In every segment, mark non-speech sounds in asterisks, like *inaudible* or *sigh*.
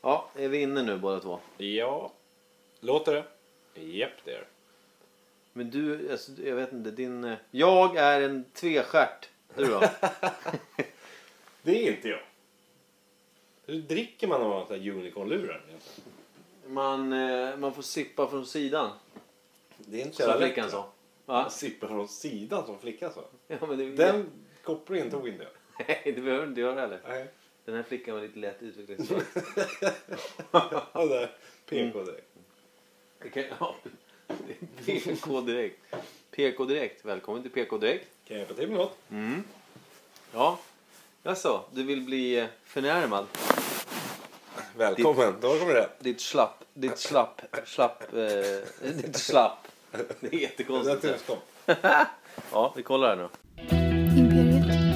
Ja, är vi inne nu båda två? Ja. Låter det? Japp, det är det. Men du, alltså, jag vet inte, din... eh, Jag är en tvestjärt. Du då? Det är inte jag. Hur dricker man av sådana här unicorn-lurar egentligen? man, eh, man får sippa från sidan. Det är inte Som flickan va? sa. Va? Man sippar från sidan som flickan sa. *laughs* Ja, men det, Den kopplingen tog inte jag. *laughs* Nej, det behöver du inte göra heller. *laughs* Nej. Den här flickan var lite lätt utvecklingsstörd. Ja, där. PK Alltså, direkt. Det kan- ja. Det är PK direkt. PK direkt. Välkommen till PK direkt. Kan jag hjälpa till med något? Ja. Jaså, du vill bli eh, förnärmad? *laughs* Välkommen, då kommer det. Ditt slapp, ditt slapp, slapp, eh, *laughs* ditt slapp. Det är jättekonstigt. Det är tusen. Ja, vi kollar här nu. Imperiet. Imperiet.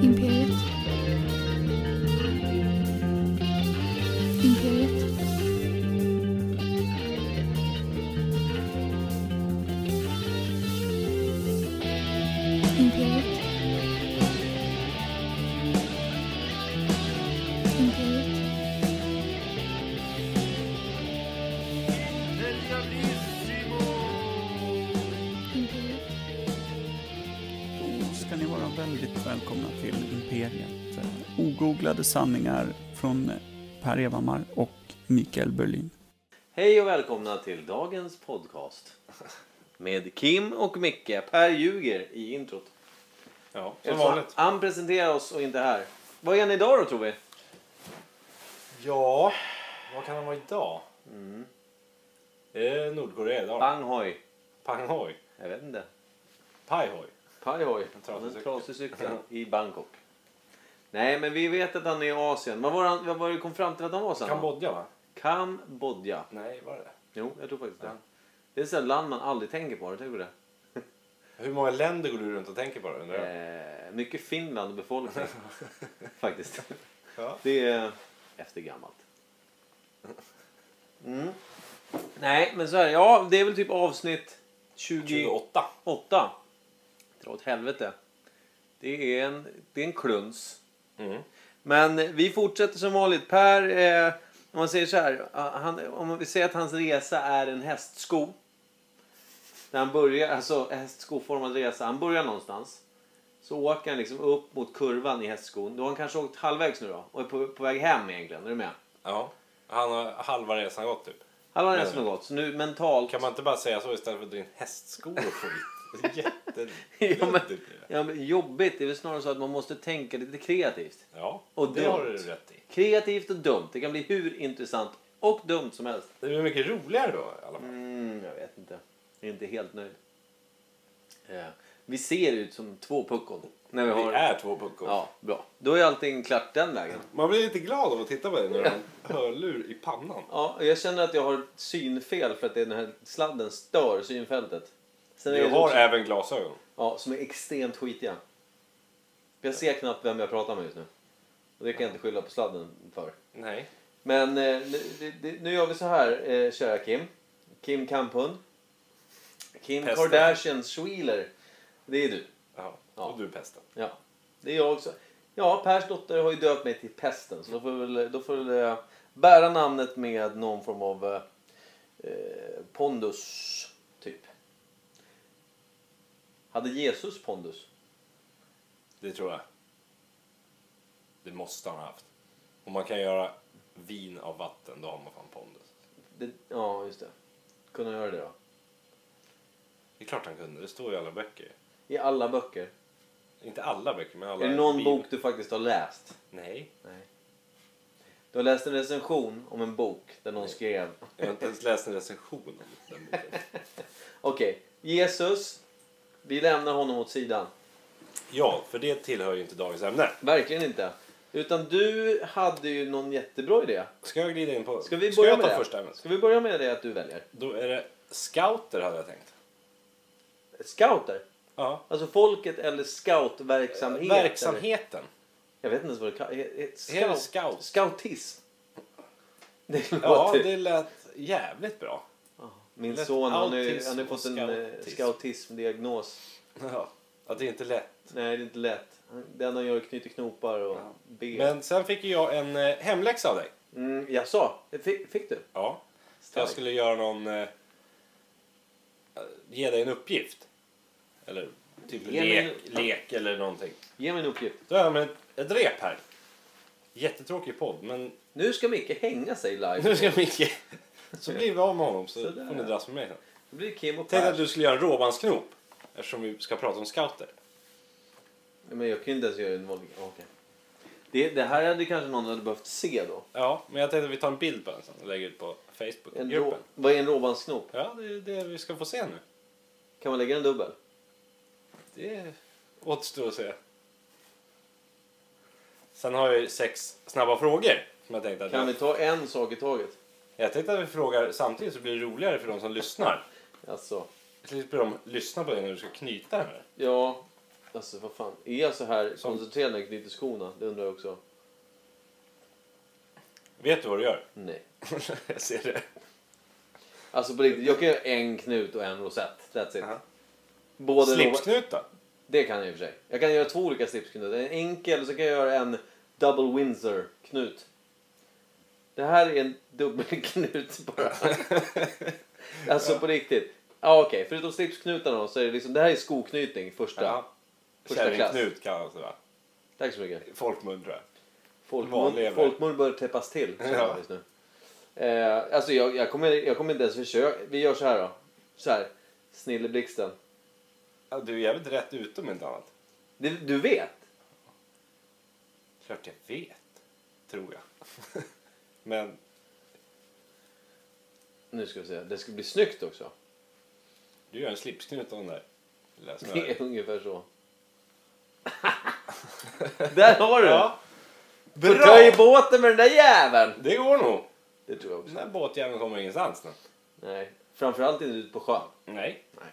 Imperiet. Imperiet. Imperiet. Imperiet. Imperiet. Då ska ni vara väldigt välkomna till Imperiet. Eh, Ogooglade sanningar från Per Evhammar och Mikael Berlin. Hej och välkomna till dagens podcast. Med Kim och Micke. Per ljuger i introt. Ja, som Eftersom vanligt. Han presenterar oss och inte här. Vad är han idag då tror vi? Ja, Mm. vad kan han vara idag? Eh, Nordkorea idag. Banghoj. Panghoi. Jag vet inte. Paihoi. Pajhoj. trasig En cykel. trasig cykel i Bangkok. Nej men vi vet att han är i Asien. Vad var han, vad var det kom fram till att han var sen? då? Kambodja va? Kambodja. Nej, var det det? Jo, jag tror faktiskt det. Ja. Det är ett sånt land man aldrig tänker på. Har du tänkt på det? Hur många länder går du runt och tänker på då? undrar jag? Eh, mycket Finland och *laughs* befolkning. faktiskt. Ja. Det är efter gammalt. Mm. Nej, men så här. Ja, det är väl typ avsnitt 28. 28. Dra åt helvete. Det är en, det är en kluns. Mm. Men vi fortsätter som vanligt. Per, eh, om man säger så här. eh, Han, om vi säger att hans resa är en hästsko. När han börjar, alltså hästskoformad resa. Han börjar någonstans. Så åker han liksom upp mot kurvan i hästskon. Då har han kanske åkt halvvägs nu då. Och är på, på väg hem egentligen. Är du med? Ja. Han har halva resan gått typ. Han har Nej. resan har gått. Så nu mentalt. Kan man inte bara säga så istället för att dra in hästskor och skit? Det är typ. Jätte... *laughs* ja, men, ja, men jobbigt. Det är väl snarare så att man måste tänka lite kreativt. Ja, Och det dumt. har du rätt i. Kreativt och dumt. Det kan bli hur intressant och dumt som helst. Det blir mycket roligare då i alla fall. Mm, jag vet inte. Jag är inte helt nöjd. Eh, vi ser ut som två puckon. När vi har... Vi är två puckor. Ja, bra. Då är allting klart den vägen. Man blir lite glad av att titta på dig när du har en hörlur i pannan. Ja, och jag känner att jag har synfel för att det är den här sladden stör synfältet. Sen är Du det har också- även glasögon. Ja, som är extremt skitiga. Jag ser knappt vem jag pratar med just nu. Och det kan jag inte skylla på sladden för. Nej. Men eh, nu- det- det- nu gör vi så här, eh, kära Kim. Kim Kamphund. Kim Pesten. Kardashian Schwiler. Det är du. Ja. Ja. Och du är pesten. Ja, det är jag också. Ja, Pers dotter har ju döpt mig till Pesten. Så då får jag väl, då får jag väl eh, bära namnet med någon form av eh, eh, pondus, typ. Hade Jesus pondus? Det tror jag. Det måste han ha haft. Om man kan göra vin av vatten, då har man fan pondus. Det, ja, just det. Kunde han göra det då? Det är klart han kunde. Det står ju i alla böcker. I alla böcker. Inte alla böcker, men alla. Är det någon bibeln. bok du faktiskt har läst? Nej. Nej. Du har läst en recension om en bok där någon Nej. skrev. Jag har inte ens läst en recension om den boken. Okej, Jesus. Vi lämnar honom åt sidan. Ja, för det tillhör ju inte dagens ämne. Verkligen inte. Utan du hade ju någon jättebra idé. Ska jag glida in på... Ska vi Ska börja jag med ta det? första ämnet? Ska vi börja med det att du väljer? Då är det scouter, hade jag tänkt. Scouter? Ja. Alltså folket eller scoutverksamhet? Eller? Verksamheten. Jag vet inte ens vad det kallas. Eh, Är det scout? Scoutism? *laughs* Det låter... Ja, det lät jävligt bra. Min Lätt son han har ju autism han har och fått en eh, scoutism. scoutismdiagnos. Ja, att det är inte lätt. Nej, det är inte lätt. Han- Det enda han gör är att knyta knopar och Ja. be. Men sen fick ju jag en eh, hemläxa av dig. Mm, jag sa, fick, fick du? Ja. Så jag skulle göra någon... Eh, ge dig en uppgift. Eller typ Ge mig lek, en- lek eller någonting. Ge mig en uppgift. Då har jag med ett, ett rep här. Jättetråkig podd, men Nu ska Micke hänga sig live. nu ska Micke... Så blir vi av med honom så Sådär. får ni dras med mig sen. Då blir det Kim och Tänkte att Per. du skulle göra en råbandsknop. Eftersom vi ska prata om scouter. Men jag kunde inte ens göra en vanlig... Okej. Det, det här hade kanske någon hade behövt se då. Ja, men jag tänkte att vi tar en bild på den sen och lägger ut på En rå, Facebook-gruppen. vad är en råbandsknop? Ja, det är det vi ska få se nu. Kan man lägga en dubbel? Det återstår att se. Sen har jag ju sex snabba frågor. Som jag, tänkte att Kan vi jag, ta en sak i taget? jag tänkte att vi frågar samtidigt så blir det roligare för de som lyssnar. Alltså, Slipper de lyssna på det när du ska knyta den här. ja... Alltså vad fan. Är jag så här Som- koncentrerad när jag knyter skorna? Det undrar jag också. Vet du vad du gör? *laughs* Nej. jag ser det. Alltså på riktigt, jag kan göra en knut och en rosett. That's it. Ja. Både råband- Slipsknut då? Det kan jag i och för sig. Jag kan göra två olika slipsknutar. En enkel och så kan jag göra en double Windsor-knut. Det här är en *laughs* dubbelknut *laughs* bara. alltså på riktigt. Ja okej, förutom slipsknutarna då så är det liksom, det här är skoknytning första. Ja. Första klass. Kärringknut kallas det va? Tack så mycket. Folkmun tror jag. Van Folkmun, lever. folkmun bör täppas till. känner jag Ja. just nu. Eh, alltså jag, jag, kommer, jag kommer inte ens försöka. Vi gör så här då. Så här. Snilleblixten. Ja, du är jävligt rätt ute om inte annat. Du, du vet? Klart jag vet. Tror jag. *laughs* Men Nu ska vi se. Det ska bli snyggt också. du gör en slipsknut av den där. lilla Det snöret. är ungefär så. *laughs* Där har du! Ja. Fördröj Bra! båten med den där jäveln! Det går nog. Det tror jag också. Den där båtjäveln kommer ingenstans nu. Nej, framförallt inte ute på sjön. Nej. Nej.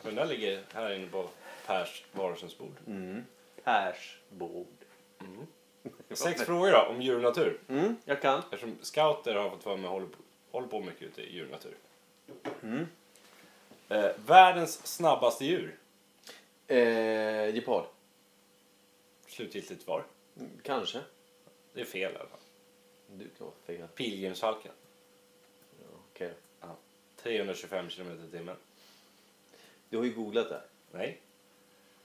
För den där ligger här inne på Pers varusensbord. Mm. Pers bord. Sex frågor då, om djur och natur. Mm, jag kan. Eftersom scouter har fått vara med och håller på, håller på mycket ute i djur och natur. Mm. Eh, världens snabbaste djur. Eh, gepard. Slutgiltigt svar. Mm, Kanske. Det är fel i alla fall. Du kan vara fel. Pilgrimsfalken. Okej. 325 km i timmen. Du har ju googlat det här. Nej.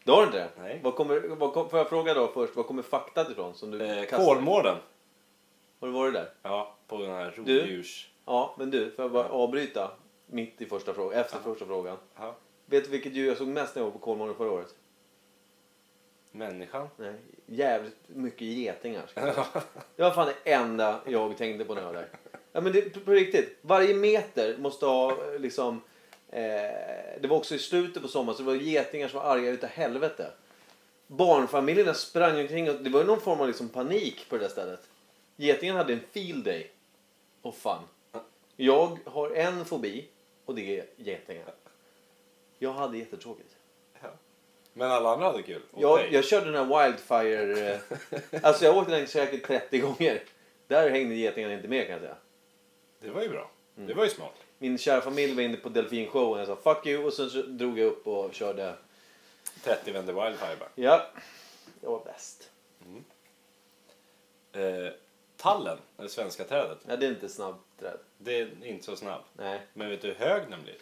Du har inte det? Nej. Vad kommer, vad kom, får jag fråga då först, var kommer faktat ifrån? Som du Eh, kastar? Kolmården. Har du varit där? Ja, på den här Du? rovdjurs... Ja, men du, får jag bara avbryta mitt i första frågan, efter första frågan. Ja. Vet du vilket djur jag såg mest när jag var på Kolmården förra året? Människan. Nej, jävligt mycket getingar. ska jag säga. Det var fan det enda jag tänkte på när jag var där. Ja, men det, på, på riktigt, varje meter måste ha eh, liksom... Eh, det var också i slutet på sommaren så det var getingar som var arga utav helvete. Barnfamiljerna sprang omkring och det var ju någon form av liksom panik på det där stället. Getingen hade en field day. Och fan. Jag har en fobi och det är getingar. Jag hade jättetråkigt. *laughs* Men alla andra hade kul. Och Jag, dig. jag körde den här Wildfire... eh, Alltså jag åkte den säkert 30 gånger. Där hängde getingarna inte med kan jag säga. Det var ju bra. Mm. Det var ju smart. Min kära familj var inne på delfinshowen. Jag sa fuck you och sen så drog jag upp och körde. 30 vänder wildfire bara. Ja, jag var bäst. Eh, tallen, det svenska trädet. Ja, det är inte snabbt träd. Det är inte så snabb. Nej, Men vet du hur hög den blir?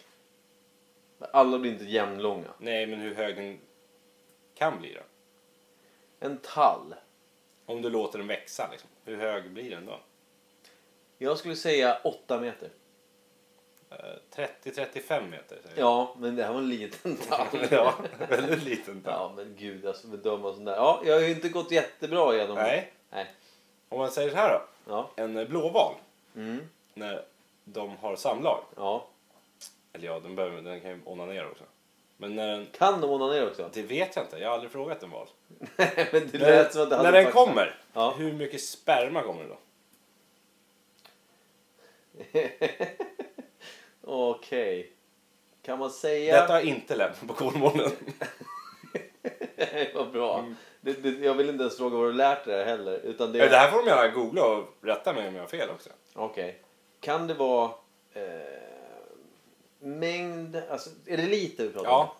alla blir inte jämnlånga. Nej, men hur hög den kan bli då? En tall. Om du låter den växa liksom. Hur hög blir den då? Jag skulle säga 8 meter. Eh, 30-35 meter säger Ja, men det här var en liten tall. jag. *laughs* ja, väldigt liten tall. Ja, men gud alltså bedöma sånt där. Ja, jag har ju inte gått jättebra igenom Nej. Nej. Om man säger så här då. Ja. En eh, blåval, Mm. när de har samlag. Ja. Eller ja, den, behöver, den kan ju onanera också. Men när den... Kan de onanera också? Det vet jag inte, jag har aldrig frågat en val. *laughs* men det När, lät som att det hade när den fakta. kommer, Ja. hur mycket sperma kommer det då? *laughs* Okej. Kan man säga... Detta har inte lämnat på Kolmården. *laughs* Vad bra. Det, det, jag vill inte ens fråga vad du lärt dig heller. Utan *laughs* det... Mm. Det här får de gärna googla och rätta mig om jag har fel också. Okej. Kan det vara... Eh, mängd, alltså, är det liter vi pratar om? Ja.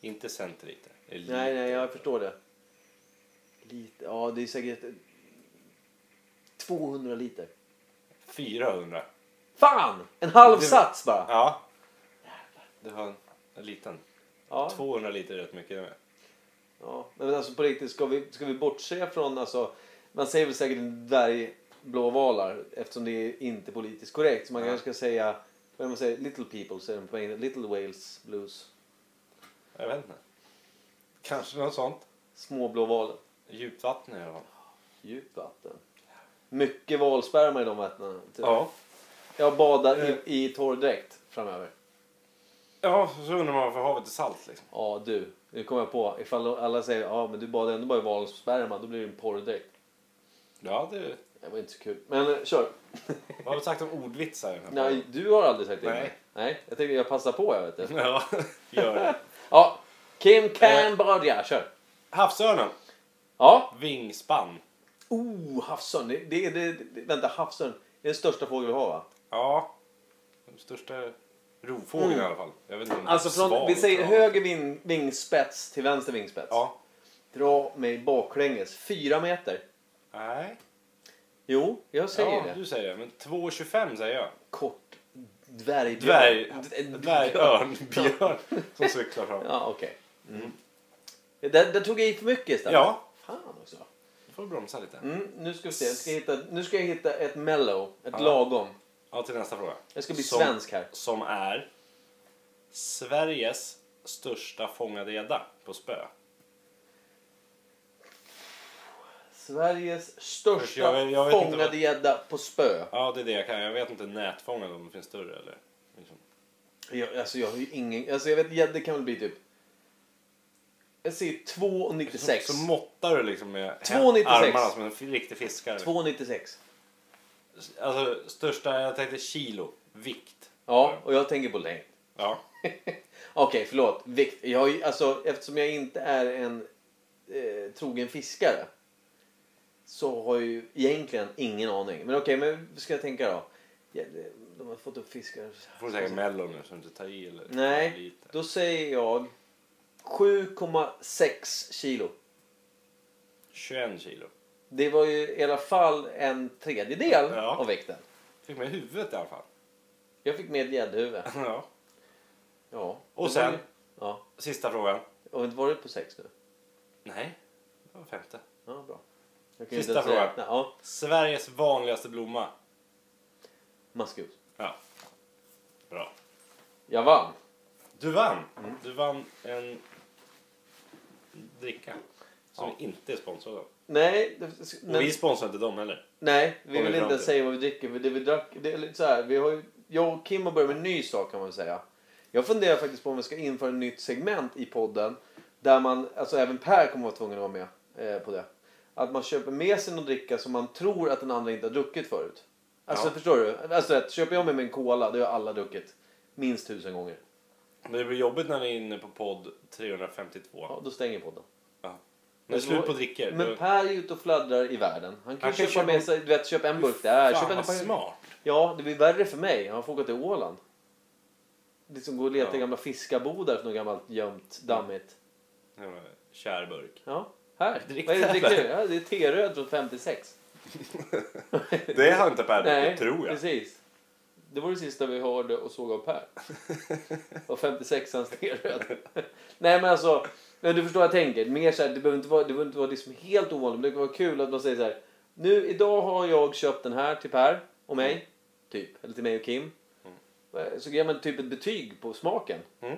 Inte centiliter. det är Nej, liter. nej, jag förstår det. Lite, ja, det är säkert 200 liter. 400. Fan! En halv Det- sats bara. Ja. Det var en, en liten. Ja. 200 liter är rätt mycket det med. Ja, men alltså på riktigt, ska vi, ska vi bortse från, alltså, man säger väl säkert dvärgblåvalar eftersom det är inte politiskt korrekt. Så man Ja. kanske ska säga, vad är det man säger, little people säger de på engelska, little whales blues. Jag vet inte. Kanske något sånt. Småblåvalen, Djupt vatten i alla fall. djupt vatten. Mycket valsperma i de vattnen. Typ. Ja. Jag badar i, i torrdräkt framöver. Ja, så undrar man varför havet är salt liksom. Ja, du. Nu kommer jag på, ifall alla säger ja men du badar ändå bara i valsperma, då blir det en porrdräkt. Ja, det... Det var inte så kul. Men eh, kör. *laughs* Vad har vi sagt om ordvitsar i den här Nej, podden? du har aldrig sagt det. Nej. Nej, jag tänkte jag passar på jag vet du. Ja, *laughs* gör det. *laughs* Ja, Kim Cambodia, kör. Havsörnen. Ja. Vingspann. Oh, havsörn. Det, det, det, det, vänta, havsörn. Det är den största fågeln vi har va? Ja. Den största rovfågeln Mm. i alla fall. Jag vet inte om Alltså från, svan vi säger tror jag. höger ving, vingspets till vänster vingspets. Ja. Dra mig baklänges. Fyra meter. Nej. Jo, jag säger Ja, det. du säger det. Men 2,25 säger jag. Kort dvärgbjörn. Dvärg, D- en *laughs* dvärgörn, björn som cyklar fram. Ja, okej. Där, där tog jag i för mycket istället. Ja. Fan också. Du får bromsa lite. Mm, nu ska vi se. Jag ska hitta, nu ska jag hitta ett mellow. Ett Ja. lagom. Ja, till nästa fråga. Jag ska bli Som- svensk här. Som är Sveriges största fångade gädda på spö. Sveriges största Jag vet- jag vet inte fångade vad- gädda på spö. Ja, det är det jag kan. Jag vet inte nätfångad om det finns större eller... Liksom. Jag, alltså jag har ju ingen... Alltså jag vet gädda kan väl bli typ... Jag säger 2,96. Så måttar du liksom med 2,96. armarna som en f- riktig fiskare. 2,96. Alltså största, jag tänkte kilo. Vikt. Ja, och jag tänker på längd. Ja. Okej, förlåt. Vikt. Jag har ju, alltså, eftersom jag inte är en eh, trogen fiskare så har jag ju egentligen ingen aning. Men okej, men vad ska jag tänka då? Ja, det- De har fått upp fiskar. Får du säga mello nu så du inte tar i eller Nej, lite. då säger jag 7,6 kilo. 21 kilo. Det var ju i alla fall en tredjedel Ja. av vikten. Fick med huvudet i alla fall. *laughs* Jag fick med ett gäddhuvud. Ja. Ja. Och Det var sen? ju- Ja. Sista frågan. Och var det på sex nu? Nej, det var femte. Ja, bra. Jag Sista ens frågan. räkna. Ja. Sveriges vanligaste blomma. Maskros. Ja. Bra. Jag vann. Du vann. Mm. Du vann en dricka. Som Ja. inte är sponsrad av. Nej, det- Och men, vi sponsrar inte dem heller. nej, vi Kommer vill fram inte till. säga vad vi dricker. För det vi drack, det är lite så här, vi har ju, jag och Kim har börjat med en ny sak kan man väl säga. Jag funderar faktiskt på om vi ska införa ett nytt segment i podden. Där man, alltså även Per kommer vara tvungen att vara med eh, på det. Att man köper med sig någon dricka som man tror att den andra inte har druckit förut. Alltså Ja. förstår du? Alltså rätt, köper jag med mig en cola, det har alla druckit. Minst tusen gånger. Men det blir jobbigt när ni är inne på podd 352. Ja, då stänger podden. När det är slut på drickor. Men då- Per är ute och fladdrar i världen. Han kan, Han kan köpa, köpa- med sig, du vet, köpa en Fy burk där. Fan köpa en vad smart. Ja, det blir värre för mig. Han får gå till Åland. Liksom gå och leta i Ja. gamla fiskabodar för något gammalt gömt dammigt. Det var en Kär burk. Ja, här. Drick Vad är det du den. dricker? Ja, det är T-röd från 56. Det har inte Per druckit tror jag. precis. Det var det sista vi hörde och såg av *laughs* Per. Och 56ans T-röd. Nej men alltså, men du förstår vad jag tänker. Mer så här, det behöver inte vara, det behöver inte vara liksom helt ovanligt. Men det kan vara kul att man säger så här. Nu, idag har jag köpt den här till Per och mig. Mm. Typ. Eller till mig och Kim. Så ger man typ ett betyg på smaken. Mm.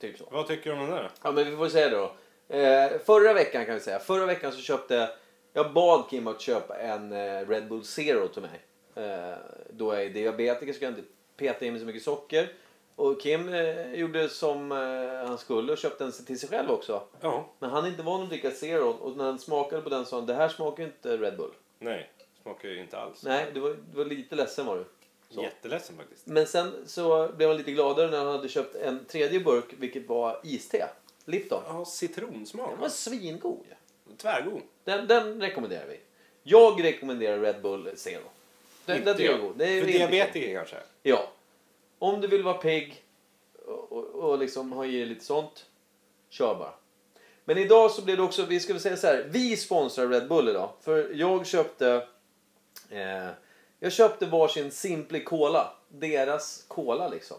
Typ så. Vad tycker du om den där? Ja, men vi får säga det då. Eh, förra veckan kan vi säga. Förra veckan så köpte jag bad Kim att köpa en eh, Red Bull Zero till mig. Eh, då jag är diabetiker så kan jag inte peta i mig så mycket socker. Och Kim eh, gjorde som eh, han skulle och köpte en till sig själv också. Ja. Men han är inte van att dricka Zero och när han smakade på den sa han det här smakar ju inte Red Bull. Nej, smakar ju inte alls. Nej, du var, du var lite ledsen var du. Så. Jätteledsen faktiskt. Men sen så blev han lite gladare när han hade köpt en tredje burk vilket var iste. Lipton. Ja, citronsmak. Den var svingod. Tvärgod. Den, den rekommenderar vi. Jag rekommenderar Red Bull Zero. Den, den Inte tycker jag jag. är god. Det är För inte- diabetiker kanske? Ja. om du vill vara pigg och, och, och liksom ha i dig lite sånt, kör bara. Men idag så blev det också, vi ska väl säga så här, vi sponsrar Red Bull idag. För jag köpte, eh, jag köpte varsin Simply Cola. Deras Cola liksom.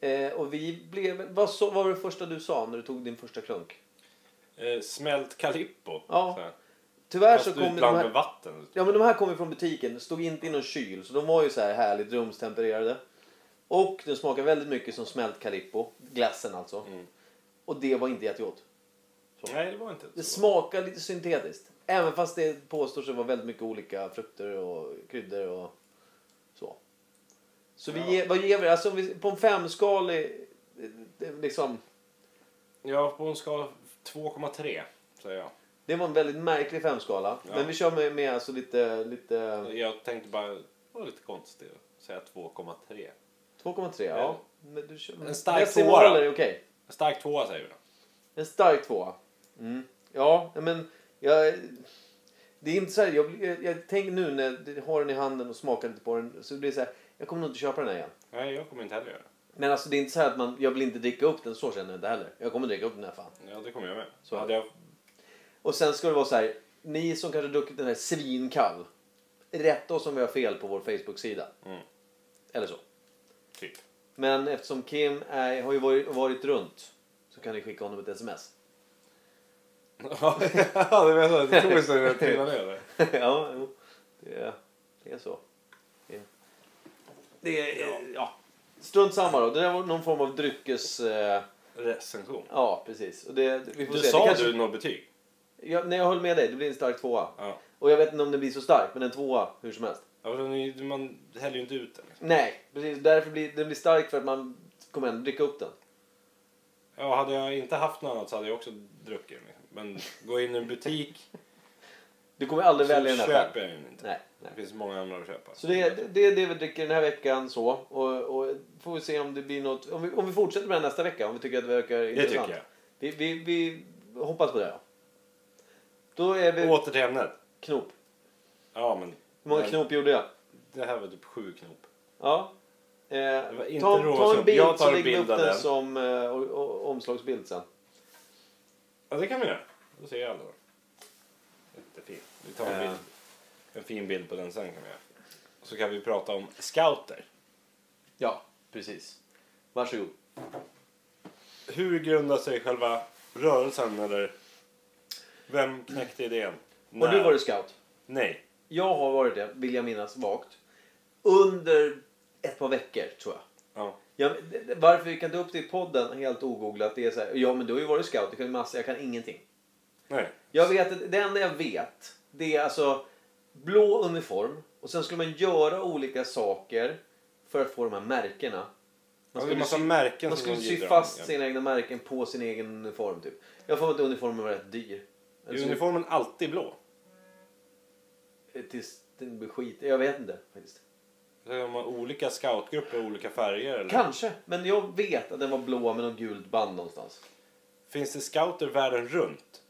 Eh, och vi blev, vad, så, vad var det första du sa när du tog din första klunk? Eh, smält Calippo. Ja. Så här. Tyvärr så Fast kom de utblandat här, med vatten. Ja men de här kom ju från butiken, de stod inte i någon kyl så de var ju så här härligt rumstempererade. Och den smakade väldigt mycket som smält Calippo, glassen alltså. Mm. Och det var inte jättegott. Nej, det var inte Det så. smakar lite syntetiskt. Även fast det påstår sig vara väldigt mycket olika frukter och kryddor och så. Så vi Ja. ger, vad ger vi? Alltså om vi, på en femskalig eh, liksom. Ja, på en skala 2,3 säger jag. Det var en väldigt märklig femskala. Ja. Men vi kör med, med alltså lite, lite Jag tänkte bara, det var lite konstigt att säga 2,3. 2,3. Ja. Men du kör, En stark decimaler tvåa. är okej. En stark tvåa säger vi då. En stark tvåa. Mm. Ja, men jag... Det är inte så här, jag, blir- jag, jag tänker nu när jag har den i handen och smakar lite på den så blir det så här, jag kommer nog inte köpa den här igen. Nej, jag kommer inte heller göra det. Men alltså det är inte så här att man, jag vill inte dricka upp den, så känner jag inte heller. Jag kommer dricka upp den här fan. Ja, det kommer jag med. Så. Så hade jag... Och sen ska det vara så här, ni som kanske druckit den här svinkall, rätta oss om vi har fel på vår Facebook-sida. Mm, Eller så. typ. Men eftersom Kim är, har ju varit, varit runt så kan ni skicka honom ett sms. *laughs* ja, det var så. Det tog sig att *laughs* trilla ner det. ja, jo. Det, är- det är så. Det är, det är ja. Strunt samma då. Det där var någon form av dryckes... Eh, Recension. ja, precis. Och det, vi får Du se. sa det kanske, du något betyg? jag, nej, jag höll med dig. Det blir en stark tvåa. Ja. Och jag vet inte om den blir så stark, men en tvåa hur som helst. ja men ni- man häller ju inte ut den. Liksom. Nej, precis. Därför blir den blir stark för att man kommer ändå dricka upp den. Ja, hade jag inte haft något annat så hade jag också druckit den. Liksom. Men gå in i *laughs* en butik Du kommer aldrig så välja den här själv. köper jag den inte. Nej, nej. Det finns många andra att köpa. Så det, är- det är det vi dricker den här veckan så. Och, och får vi se om det blir något. Om vi, om vi fortsätter med det här nästa vecka. Om vi tycker att det verkar det intressant. tycker jag. Vi, vi, vi hoppas på det. Ja. Då är vi Åter till ämnet. knop. Ja, men Hur många Nej. knop gjorde jag? det här var typ sju knop. Ja. Eh, var inte ta, ta en rosa. bild Jag tar så en lägger vi upp bild av den den. som eh, o, o, omslagsbild sen. Ja, det kan vi göra. Då ser jag alla. då. Jättefin. Vi tar en, Ja. bild. en fin bild på den sen kan vi göra. Och så kan vi prata om scouter. Ja, precis. Varsågod. Hur grundar sig själva rörelsen eller vem knäckte idén? Har du varit scout? Nej. Jag har varit det, vill jag minnas vagt. Under ett par veckor tror jag. Ja. Ja, men det- det- varför vi kan ta upp det i podden helt ogooglat det är så här, ja men du har ju varit scout, du kan ju massa, jag kan ingenting. Nej. Jag vet, att- det enda jag vet, det är alltså blå uniform och sen skulle man göra olika saker för att få de här märkena. Man Man skulle, skulle, massa sy, märken man som skulle de sy glider fast om. sina egna märken på sin egen uniform typ. Jag får för mig att uniformen var rätt dyr. Alltså, Är Eller så- uniformen alltid blå? Tills den blir skit, jag vet inte faktiskt. Så Har man olika scoutgrupper, olika färger? Eller? Kanske, men jag vet att den var blå med något gult band någonstans. Finns det scouter världen runt?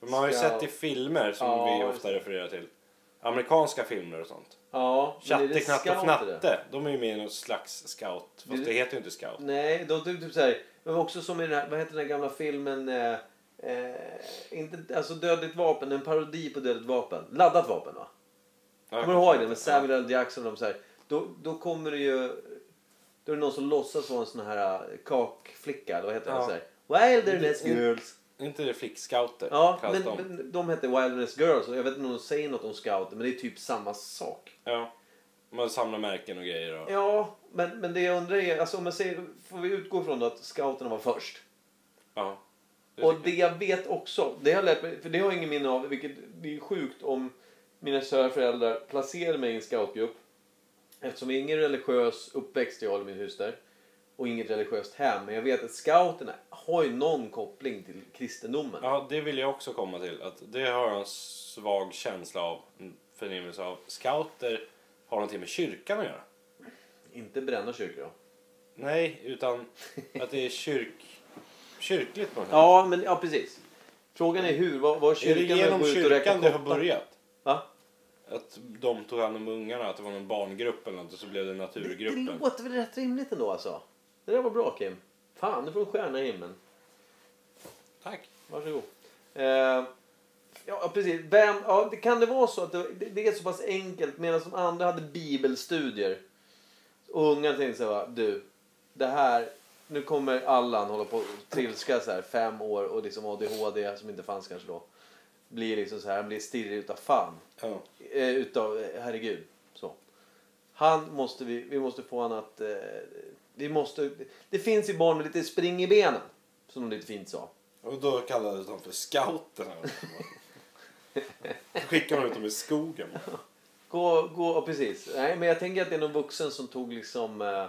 För man har ju Scout. sett i filmer som Ja, vi just ofta refererar till. Amerikanska filmer och sånt. Ja, men är det Chatte, Knatte och scouter det? Fnatte. De är ju med i någon slags scout. Det- Fast det heter ju inte scout. Nej, de typ, typ såhär, men också som i den här, vad heter den här gamla filmen, eh, eh, inte, alltså Dödligt vapen, en parodi på Dödligt vapen. Laddat vapen va? Kommer du ihåg den med Samuel L. Jackson och de såhär, då, då kommer det ju, då är det någon som låtsas vara en sån här eh, kakflicka, eller vad heter Ja. det? Såhär, Wilderness Mm. girls. Är inte det flickscouter? Ja, kallas men, de? men de hette Wilderness girls och jag vet inte om de säger något om scouter, men det är typ samma sak. Ja. Man samlar märken och grejer. Och... Ja, men, men det jag undrar är, alltså om man säger, får vi utgå från då att scouterna var först? Ja. Det Och tycker det jag vet också, det har jag lärt mig, för det har jag ingen minne av, vilket det är sjukt om mina kära föräldrar placerade mig i en scoutgrupp. Eftersom det är ingen religiös uppväxt jag har i min hustär och inget religiöst hem. Men jag vet att scouterna har ju någon koppling till kristendomen. jag. ja, det vill jag också komma till. Att det har jag en svag känsla av, en förnimmelse av. Scouter har någonting med kyrkan att göra. Inte bränna kyrkor då. Nej, utan att det är kyrk... kyrkligt på något sätt. Ja, men ja precis. Frågan är hur, vad, vad Är det kyrkan genom går ut och räcker kyrkan det har koppar? börjat? Va? att de tog hand om ungarna, att det var någon barngrupp eller något och så blev det Det, naturgruppen. det låter väl rätt rimligt ändå alltså. Det där var bra Kim. Fan, du får en stjärna i himlen. Tack. Varsågod. Eh, ja, precis. Vem, ja, det, kan det vara så att det, det- det är så pass enkelt medan de andra hade bibelstudier. Och unga tänkte så här, va, du, det här, nu kommer Allan hålla på och trilska så här fem år och liksom ADHD som inte fanns kanske då. Blir liksom så här, han blir stirrig utav fan. Ja. Eh, utav, eh, herregud. Så. Han måste vi, vi måste få han att, eh, vi måste, det finns ju barn med lite spring i benen. Som de lite fint sa. Och då kallades de för scouterna. Skickade de ut dem i skogen. Gå, gå, och precis. Nej, men jag tänker att det är någon vuxen som tog liksom... eh,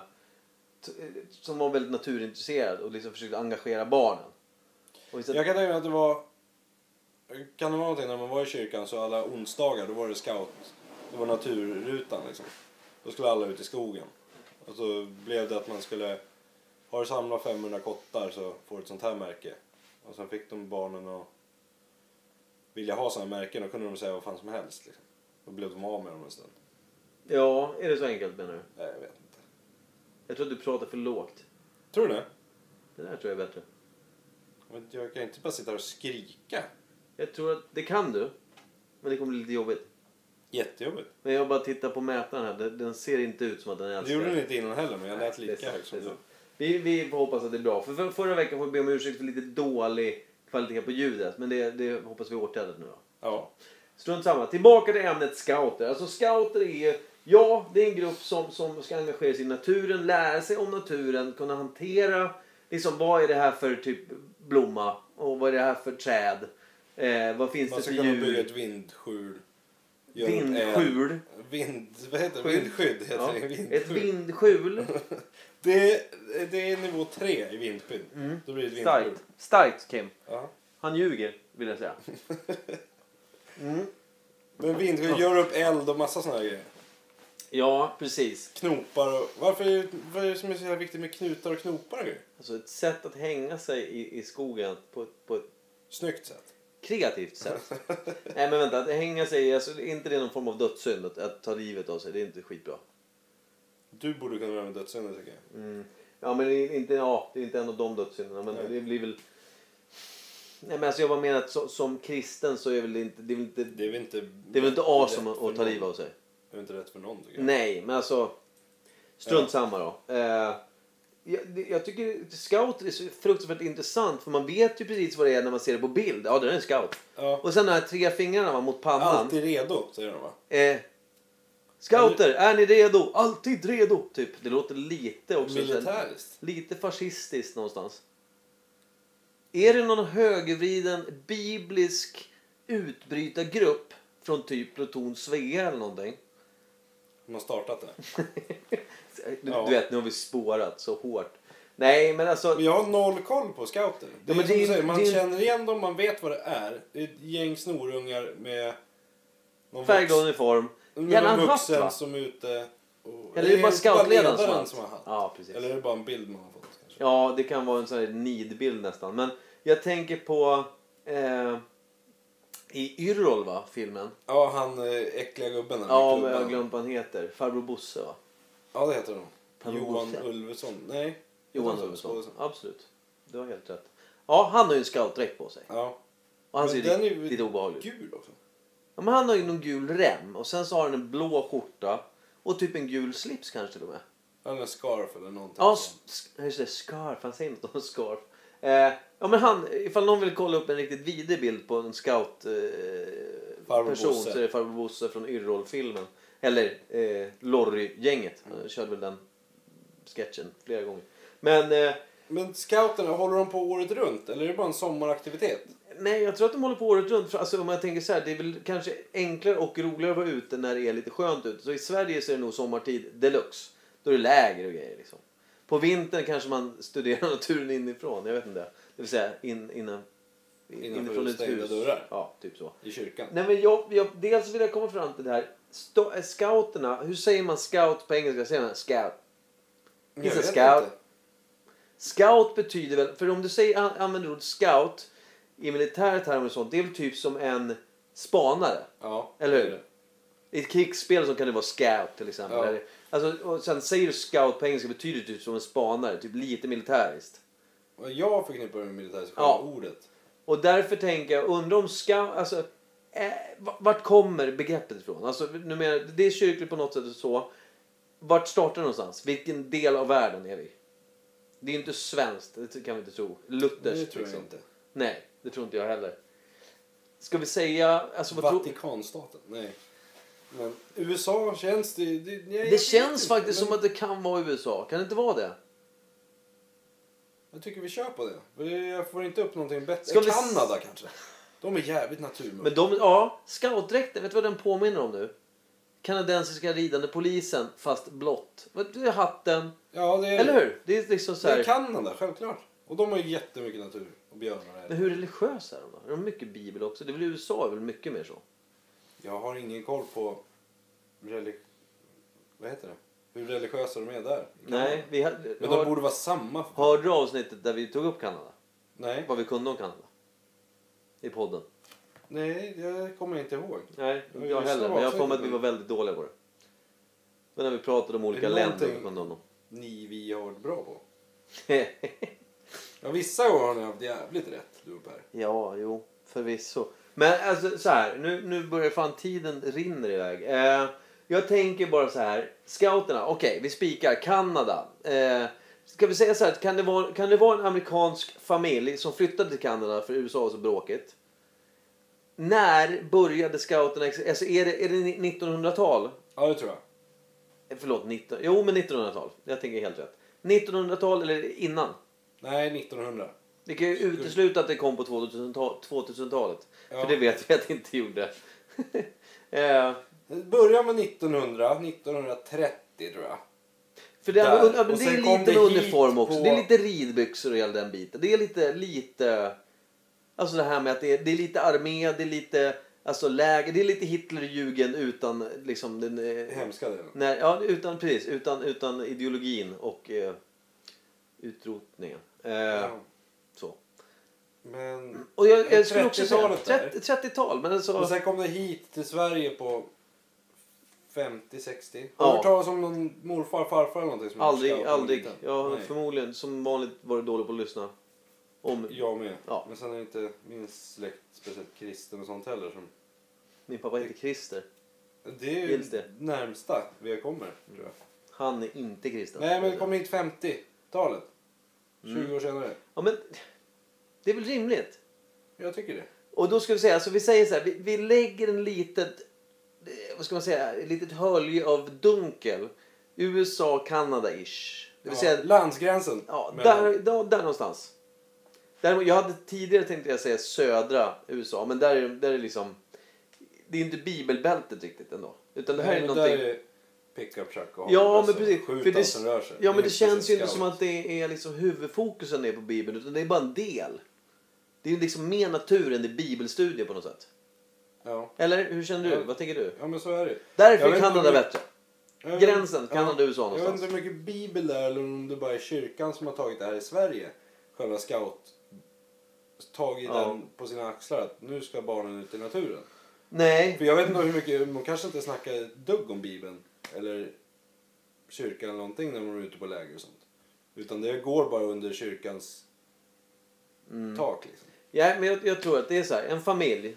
t- eh, Som var väldigt naturintresserad och liksom försökte engagera barnen. Och istället, Jag kan tänka mig att det var... Kan det vara någonting när man var i kyrkan så alla onsdagar då var det scout... Det var naturrutan liksom. Då skulle alla ut i skogen. Och så blev det att man skulle... Har du samlat 500 kottar så får du ett sånt här märke. Och sen fick de barnen att vilja ha såna märken. Då kunde de säga vad fan som helst. Liksom. Då blev de av med dem en stund. Ja, är det så enkelt menar du? Nej, jag vet inte. Jag tror att du pratar för lågt. Tror du det? Det där tror jag är bättre. Men Jag kan inte bara sitta här och skrika. Jag tror att det kan du. Men det kommer bli lite jobbigt. Jättejobbigt. Men jag bara tittar på mätaren här. Den, den ser inte ut som att den älskar. Det gjorde den inte innan heller men jag lät Alltså, Nej, det är sant, lika liksom. högt som det är du. sant. Vi, vi får hoppas att det är bra. För, för Förra veckan får vi be om ursäkt för lite dålig kvalitet på ljudet. Men det, det hoppas vi åtgärdat nu då. Ja. Strunt samma. Tillbaka till ämnet scouter. Alltså scouter är ju, ja, det är en grupp som, som ska engagera sig i naturen, lära sig om naturen, kunna hantera liksom vad är det här för typ blomma och vad är det här för träd? Eh, vad finns Man det ska för kunna bygga djur? ett vindskjul. Göra ett *laughs* Vindskjul. eld. Vind, vad heter det? Skjul. Vindskydd heter *laughs* Ja, det. ett Vindskydd. *laughs* vindskjul. Det, är, det är nivå tre i vindskydd. Mm. Då blir det ett vindskydd. Starkt. Starkt Kim. Ja. Han ljuger vill jag *laughs* säga. Men vindskydd, gör upp eld och massa såna här grejer. Ja, precis. Knopar och... Varför är, vad är det som är så här viktigt med knutar och knopar och grejer? Alltså ett sätt att hänga sig i, i skogen på, på ett Snyggt sätt. kreativt *laughs* sätt. Nej men vänta, att hänga sig, alltså, är inte det någon form av dödssynd att, att ta livet av sig? Det är inte skitbra. Du borde kunna använda dödssynden tycker jag. Ja men det är inte, ja, det är inte en av de dödssynderna men Nej. det blir väl... Nej men alltså jag bara menar att som, som kristen så är väl inte, det är väl inte, Det är väl inte... det är väl inte awesome att, rätt för att ta någon. livet av sig? Det är väl inte rätt för någon tycker jag. Nej men alltså, strunt samma då. Eh, jag, det- jag tycker scouter är så fruktansvärt intressant för man vet ju precis vad det är när man ser det på bild. Ja det där är en scout. Ja. Och sen de här tre fingrarna va, mot pannan. Alltid redo säger de va? Eh, scouter, är ni redo? Alltid redo! Typ. Det låter lite också... Militäriskt. Lite fascistiskt någonstans. Är det någon högervriden biblisk utbrytargrupp från typ Pluton Svea eller någonting? *laughs* De har startat det. Du, Ja. du vet, nu har vi spårat så hårt. Nej, men alltså... Men Jag har noll koll på scouter. Det Ja, men är som det är- du säger, man det är- känner igen dem, man vet vad det är. Det är ett gäng snorungar med någon Färgglad vux- uniform. med Gärna någon en hatt, vuxen va? som är ute och... Eller är det bara scoutledaren som, som har har hatt? som har hatt? Ja, precis. Eller är det bara en bild man har fått? Kanske? Ja, det kan vara en sån här nidbild nästan. Men jag tänker på... Eh, I Yrrol, va? Filmen. Ja, han eh, äckliga gubben där med Ja, men klubban. jag har glömt vad han heter. Farbror Bosse, va? Ja, det heter Per de. Johan Bosse. Ulveson. Nej. Johan Utan- Ulveson. Skådisen. Absolut. Du har helt rätt. Ja, han har ju en scoutdräkt på sig. Ja. Och han Men ser ju den lite, är ju lite obehaglig ut. Gul också. Ja, men han har ju någon gul rem och sen så har han en blå skjorta och typ en gul slips kanske till och med. Eller en scarf eller någonting. Ja, s- s- just det. Scarf. Han säger något om *laughs* scarf. Eh, ja, men han, ifall någon vill kolla upp en riktigt vidrig bild på en scout eh, Farbror person Bosse. så är det farbror Bosse från Yrrol-filmen. Eller eh, Lorry-gänget. Han körde väl den sketchen flera gånger. Men eh, Men scouterna, håller de på året runt? Eller är det bara en sommaraktivitet? Nej, jag tror att de håller på året runt. För, alltså, om jag tänker så här, det är väl kanske enklare och roligare att vara ute när det är lite skönt ute. Så i Sverige så är det nog sommartid deluxe. Då är det läger och grejer liksom. På vintern kanske man studerar *laughs* naturen inifrån, jag vet inte. Det vill säga in, innan, in, Innanför inifrån ett stängda hus. dörrar. Ja, typ så. I kyrkan? Nej, men jag, jag, dels vill jag komma fram till det här. Sto, eh, scouterna, hur säger man scout på engelska? Säger man scout? Jag He's a vet scout. inte. Scout betyder väl, för om du säger, an- använder ordet scout i militära termer och sånt, det är väl typ som en spanare. Ja, Eller hur? det är det. I ett krigsspel så kan det vara scout till exempel. Ja. Eller- Alltså, och sen säger du scout på engelska betyder det typ som en spanare, typ lite militäriskt. Och Jag förknippar det med militär, så Ja. själva ordet. Och därför tänker jag, undrar om scout, alltså eh, v- vart kommer begreppet ifrån? Alltså, nu menar, det är kyrkligt på något sätt och så. Vart startar det någonstans? Vilken del av världen är vi? Det är ju inte svenskt, det kan vi inte tro. Lutherskt Det tror jag liksom. inte. Nej, det tror inte jag heller. Ska vi säga... Alltså, vad tror- Vatikanstaten? Nej. Men USA känns det... Det, nej, jag det vet känns inte, faktiskt men som att det kan vara USA. Kan det inte vara det? Jag tycker vi kör på det. För det- Jag får inte upp någonting bättre. Ska vi s- Kanada kanske? De är jävligt naturmodiga. Men de, ja, scoutdräkten, vet du vad den påminner om nu? Kanadensiska ridande polisen, fast blått. Vad- Det är hatten, Ja, det är... eller hur? Det är liksom så Det är här. Kanada, självklart. Och de har ju jättemycket natur. Och björnar. Men Är. hur religiösa är de då? Är de mycket bibel också? Det är väl USA är väl mycket mer så? Jag har ingen koll på... Relig... Vad heter det? Hur religiösa de är där. i Kanada. Nej, vi hade, Men hör, de borde vara samma. för- hörde du avsnittet där vi tog upp Kanada? Nej. Vad vi kunde om Kanada? I podden? Nej, det kommer jag inte ihåg. Nej, Ja, inte jag just det, heller. Men jag har för mig att vi avsnittet. var väldigt dåliga på det. Men när vi pratade om olika det länder någonting- och kunde om dem. Ni, vi har varit bra på. Ja, vissa år har ni haft jävligt rätt, du och Per. Ja, jo, förvisso. Men alltså så här, nu, nu börjar fan tiden rinner iväg. Eh, jag tänker bara så här, scouterna, okej, vi spikar Kanada. Eh, ska vi säga så här, kan det, vara, kan det vara en amerikansk familj som flyttade till Kanada för USA var så bråkigt? När började scouterna, ex- alltså är det, är det 1900-tal? Ja, det tror jag. Eh, Förlåt, 19, jo men 1900-tal, jag tänker helt rätt. 1900-tal eller innan? Nej, 1900. Vi kan ju utesluta att det kom på 2000-tal- 2000-talet. Ja. För det vet vi att det inte gjorde. *laughs* eh, Börja med 1900, 1930 tror jag. för det, Där. är, ja, men Och det sen är kom lite det hit uniform också. på- Det är lite ridbyxor och hela den biten. Det är lite, lite... Alltså det här med att det är, det är lite armé, det är lite alltså läger. Det är lite Hitlerjugend utan liksom den... eh, Hemska delen. När, ja, utan, precis, utan, utan ideologin och eh, utrotningen. Eh, Ja. Så. Men... Och jag, jag skulle också säga 30-talet där. 30 30-tal. Men alltså... Och sen kom det hit till Sverige på 50-60. Har Ja. du hört talas om någon morfar, farfar eller någonting? Som Aldrig, Mm. scout när man var aldrig. liten? Jag har Nej. förmodligen som vanligt varit dålig på att lyssna. Om Jag med. Ja. Men sen är inte min släkt speciellt kristen och sånt heller. Som... min pappa heter Christer. Det är ju Gills det? närmsta vi kommer, tror jag. Han är inte kristen. Nej, men det kom hit 50-talet. Mm. 20 år senare. Ja, men det är väl rimligt? Jag tycker det. Och då ska vi säga, så vi säger så här, vi, vi lägger en litet, eh, vad ska man säga, ett litet hölje av dunkel. USA, Kanada-ish. Det vill Ja, säga, landsgränsen. ja, mellan- där, där, där någonstans. Däremot, jag hade tidigare tänkt att jag säga södra USA, men där är, där är liksom, det är inte bibelbältet riktigt ändå. Utan det här Nej, är men någonting... där är pickup truck och Ja, hagelbössa. men precis. Skjut För allt det, som alltså, rör sig. ja, men det är känns ju inte precis som att det är liksom huvudfokusen är på Bibeln, utan det är bara en del. Det är ju liksom mer natur än det är bibelstudier på något sätt. Ja. Eller hur känner du? Ja. Vad tänker du? ja, men så är det Jag Därför vet är inte Kanada hur- bättre. Jag vet- Gränsen, Kanada, USA Jag vet någonstans. inte hur mycket bibel det är eller om det bara är kyrkan som har tagit det här i Sverige. Själva scout. Tagit Ja. den på sina axlar att nu ska barnen ut i naturen. För Nej, jag vet inte hur mycket, de kanske inte snackar ett dugg om bibeln. Eller kyrkan eller någonting när de är ute på läger och sånt. Utan det går bara under kyrkans Mm. tak liksom. ja, men jag, jag tror att det är så här. En familj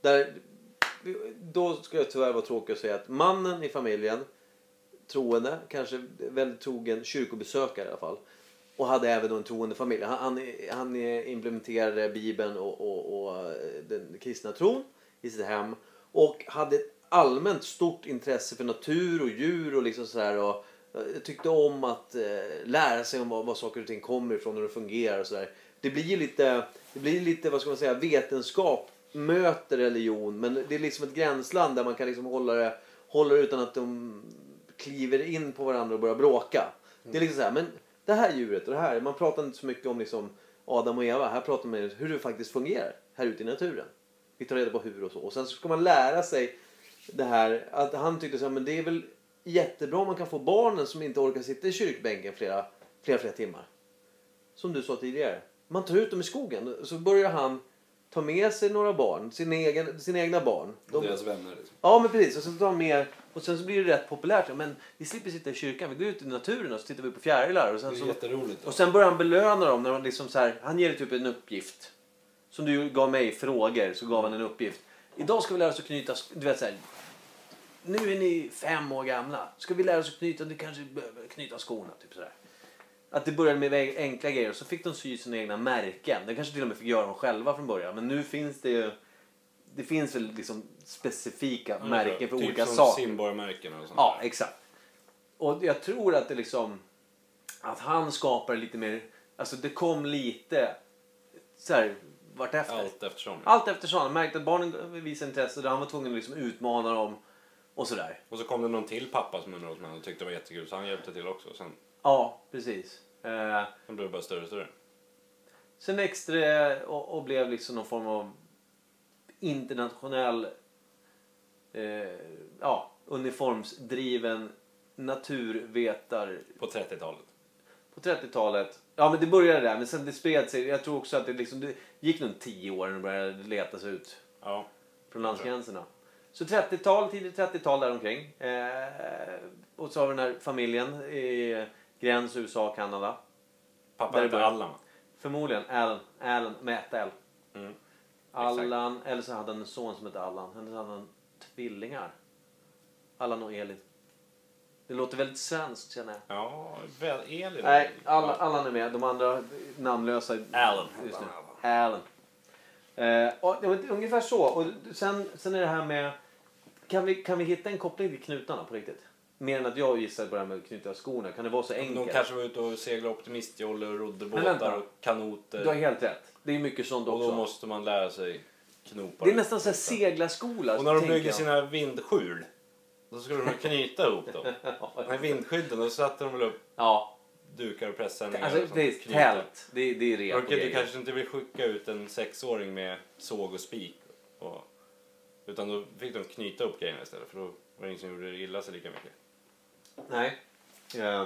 där... Då ska jag tyvärr vara tråkig och säga att mannen i familjen, troende, kanske väldigt trogen kyrkobesökare i alla fall. Och hade även då en troende familj. Han, han, han implementerade Bibeln och, och, och den kristna tron i sitt hem. Och hade ett allmänt stort intresse för natur och djur och liksom sådär. Och eh, tyckte om att eh, lära sig om vad, vad saker och ting kommer ifrån och hur det fungerar och sådär. Det blir ju lite, det blir lite, vad ska man säga, vetenskap möter religion. Men det är liksom ett gränsland där man kan liksom hålla det, hålla det utan att de kliver in på varandra och börjar bråka. Det är liksom så här, men det här djuret och det här. Man pratar inte så mycket om liksom Adam och Eva. Här pratar man om hur det faktiskt fungerar här ute i naturen. Vi tar reda på hur och så. Och sen så ska man lära sig det här. Att han tyckte så här, men det är väl jättebra om man kan få barnen som inte orkar sitta i kyrkbänken flera, flera, flera timmar. Som du sa tidigare. Man tar ut dem i skogen. Så börjar han ta med sig några barn, sina, egen, sina egna barn. De, Deras vänner liksom. Ja, men precis. Och sen, tar de med, och sen så blir det rätt populärt. Ja, Men vi slipper sitta i kyrkan, vi går ut i naturen och så tittar vi på fjärilar. Och Det är sen, så, jätteroligt. Alltså- och sen börjar han belöna dem. När de liksom så här, han ger dig typ en uppgift. Som du gav mig frågor, så gav han en uppgift. Idag ska vi lära oss att knyta... sk- Du vet så här, nu är ni fem år gamla. Ska vi lära oss att knyta... Du kanske behöver knyta skorna. Typ så där. Att det började med enkla grejer och så fick de sy sina egna märken. De kanske till och med fick göra dem själva från början. Men nu finns det ju... Det finns väl liksom specifika märken för typ olika som saker. Simborg-märken och sånt Ja, där. exakt. Och jag tror att det liksom... Att han skapar lite mer... Alltså det kom lite så här vartefter. Allt eftersom. Allt eftersom. Han märkte att barnen visade intresse och han var tvungen att liksom utmana dem och sådär. Och så kom det någon till pappa som undrade om han tyckte det var jättekul så han hjälpte till också. Sen, Ja, precis. Eh, sen blev det bara större och större. sen växte det och, och blev liksom någon form av internationell eh, ja, uniformsdriven naturvetar På 30-talet. på 30-talet. Ja, men det började där, men sen det spred sig. Jag tror också att det, liksom, det gick nog tio år innan det började letas ut Ja. från landsgränserna. Så 30-tal, tidigt 30-tal däromkring. Eh, och så har vi den här familjen i gräns USA och Kanada. Pappa Där hette började- Allan va? Förmodligen Alan, Alan med ett L. Mm. Allan, eller så hade han en son som hette Allan. Eller så hade han tvillingar. Allan och Elin. Det låter väldigt svenskt känner jag. Ja, väl, Elin. Nej, alla, Allan är med. De andra namnlösa. Alan. Just nu. Alan. Eh, och, det var ungefär så. Och sen, sen är det här med... Kan vi, kan vi hitta en koppling till knutarna på riktigt? Mer än att jag gissar på det här med att knyta skorna. Kan det vara så De enkelt? kanske var ute och seglade optimistjolle och rodde vänta. båtar och kanoter. Du har helt rätt. Det är mycket sånt Och också. då måste man lära sig knopa. Det är nästan så här seglarskola. Och när de tänker bygger jag. sina vindskjul, då skulle de knyta *laughs* ihop dem. De här vindskydden, då satte de väl upp Ja, dukar och pressändningar. och alltså sånt. det är Knyta. tält. Det är, det är rep och Okej, du grejer. kanske inte vill skicka ut en sexåring med såg och spik. Och, utan då fick de knyta upp grejerna istället för då var det ingen som gjorde illa sig lika mycket. Nej. Eh,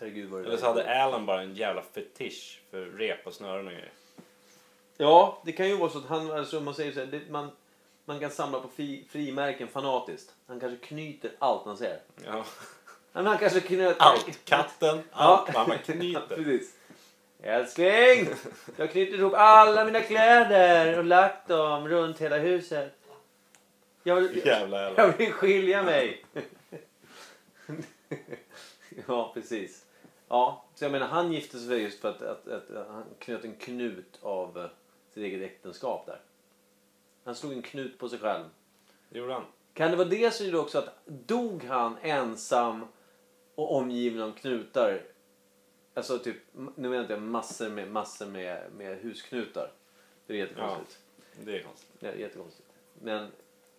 Herregud vad det Eller så där- hade Alan bara en jävla fetisch för rep och snören och grejer. Ja, det kan ju vara så att han, alltså man säger så här, det, man, man kan samla på fi, frimärken fanatiskt. Han kanske knyter allt han ser. Ja. Ja, men Han kanske knöt... Allt! Katten, allt! Mamma *laughs* Ja, *laughs* knyter. Precis. Älskling! Jag knyter ihop alla mina kläder och lagt dem runt hela huset. Jag vill, Jävla Alan. jag vill skilja mig. ja, precis. Ja, så jag menar han gifte sig just för att, att, att, han knöt en knut av eh, sitt eget äktenskap där. Han slog en knut på sig själv. Det gjorde han. Kan det vara det som gjorde också att dog han ensam och omgiven av knutar? Alltså typ, nu menar jag inte massor med, massor med, med husknutar. Det är jättekonstigt. Det är konstigt. Det är jättekonstigt. Men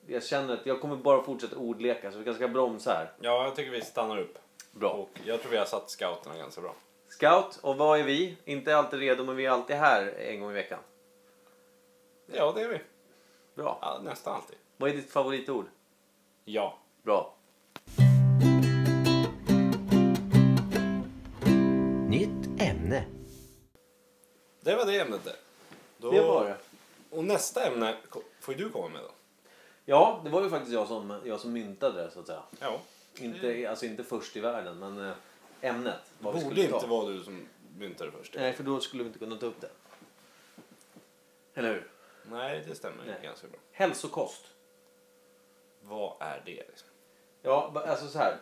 jag känner att jag kommer bara fortsätta ordleka så vi kanske ska bromsa här. Ja, jag tycker vi stannar upp. Bra. Och jag tror vi har satt scouterna ganska bra. Scout, och vad är vi? Inte alltid redo men vi är alltid här en gång i veckan. Ja, det är vi. Bra. Ja, nästan alltid. Vad är ditt favoritord? Ja. Bra. Nytt ämne. Det var det ämnet det. Då... Det var det. Och nästa ämne ko- får ju du komma med då. Ja, det var ju faktiskt jag som, jag som myntade det så att säga. Ja. Inte, alltså inte först i världen, men eh, ämnet. Vad vi Borde skulle ta. inte vara du som myntade först. Nej, för då skulle vi inte kunna ta upp det. Eller hur? Nej, det stämmer Nej. ganska bra. Hälsokost. Vad är det? Liksom? Ja, ba- alltså så här.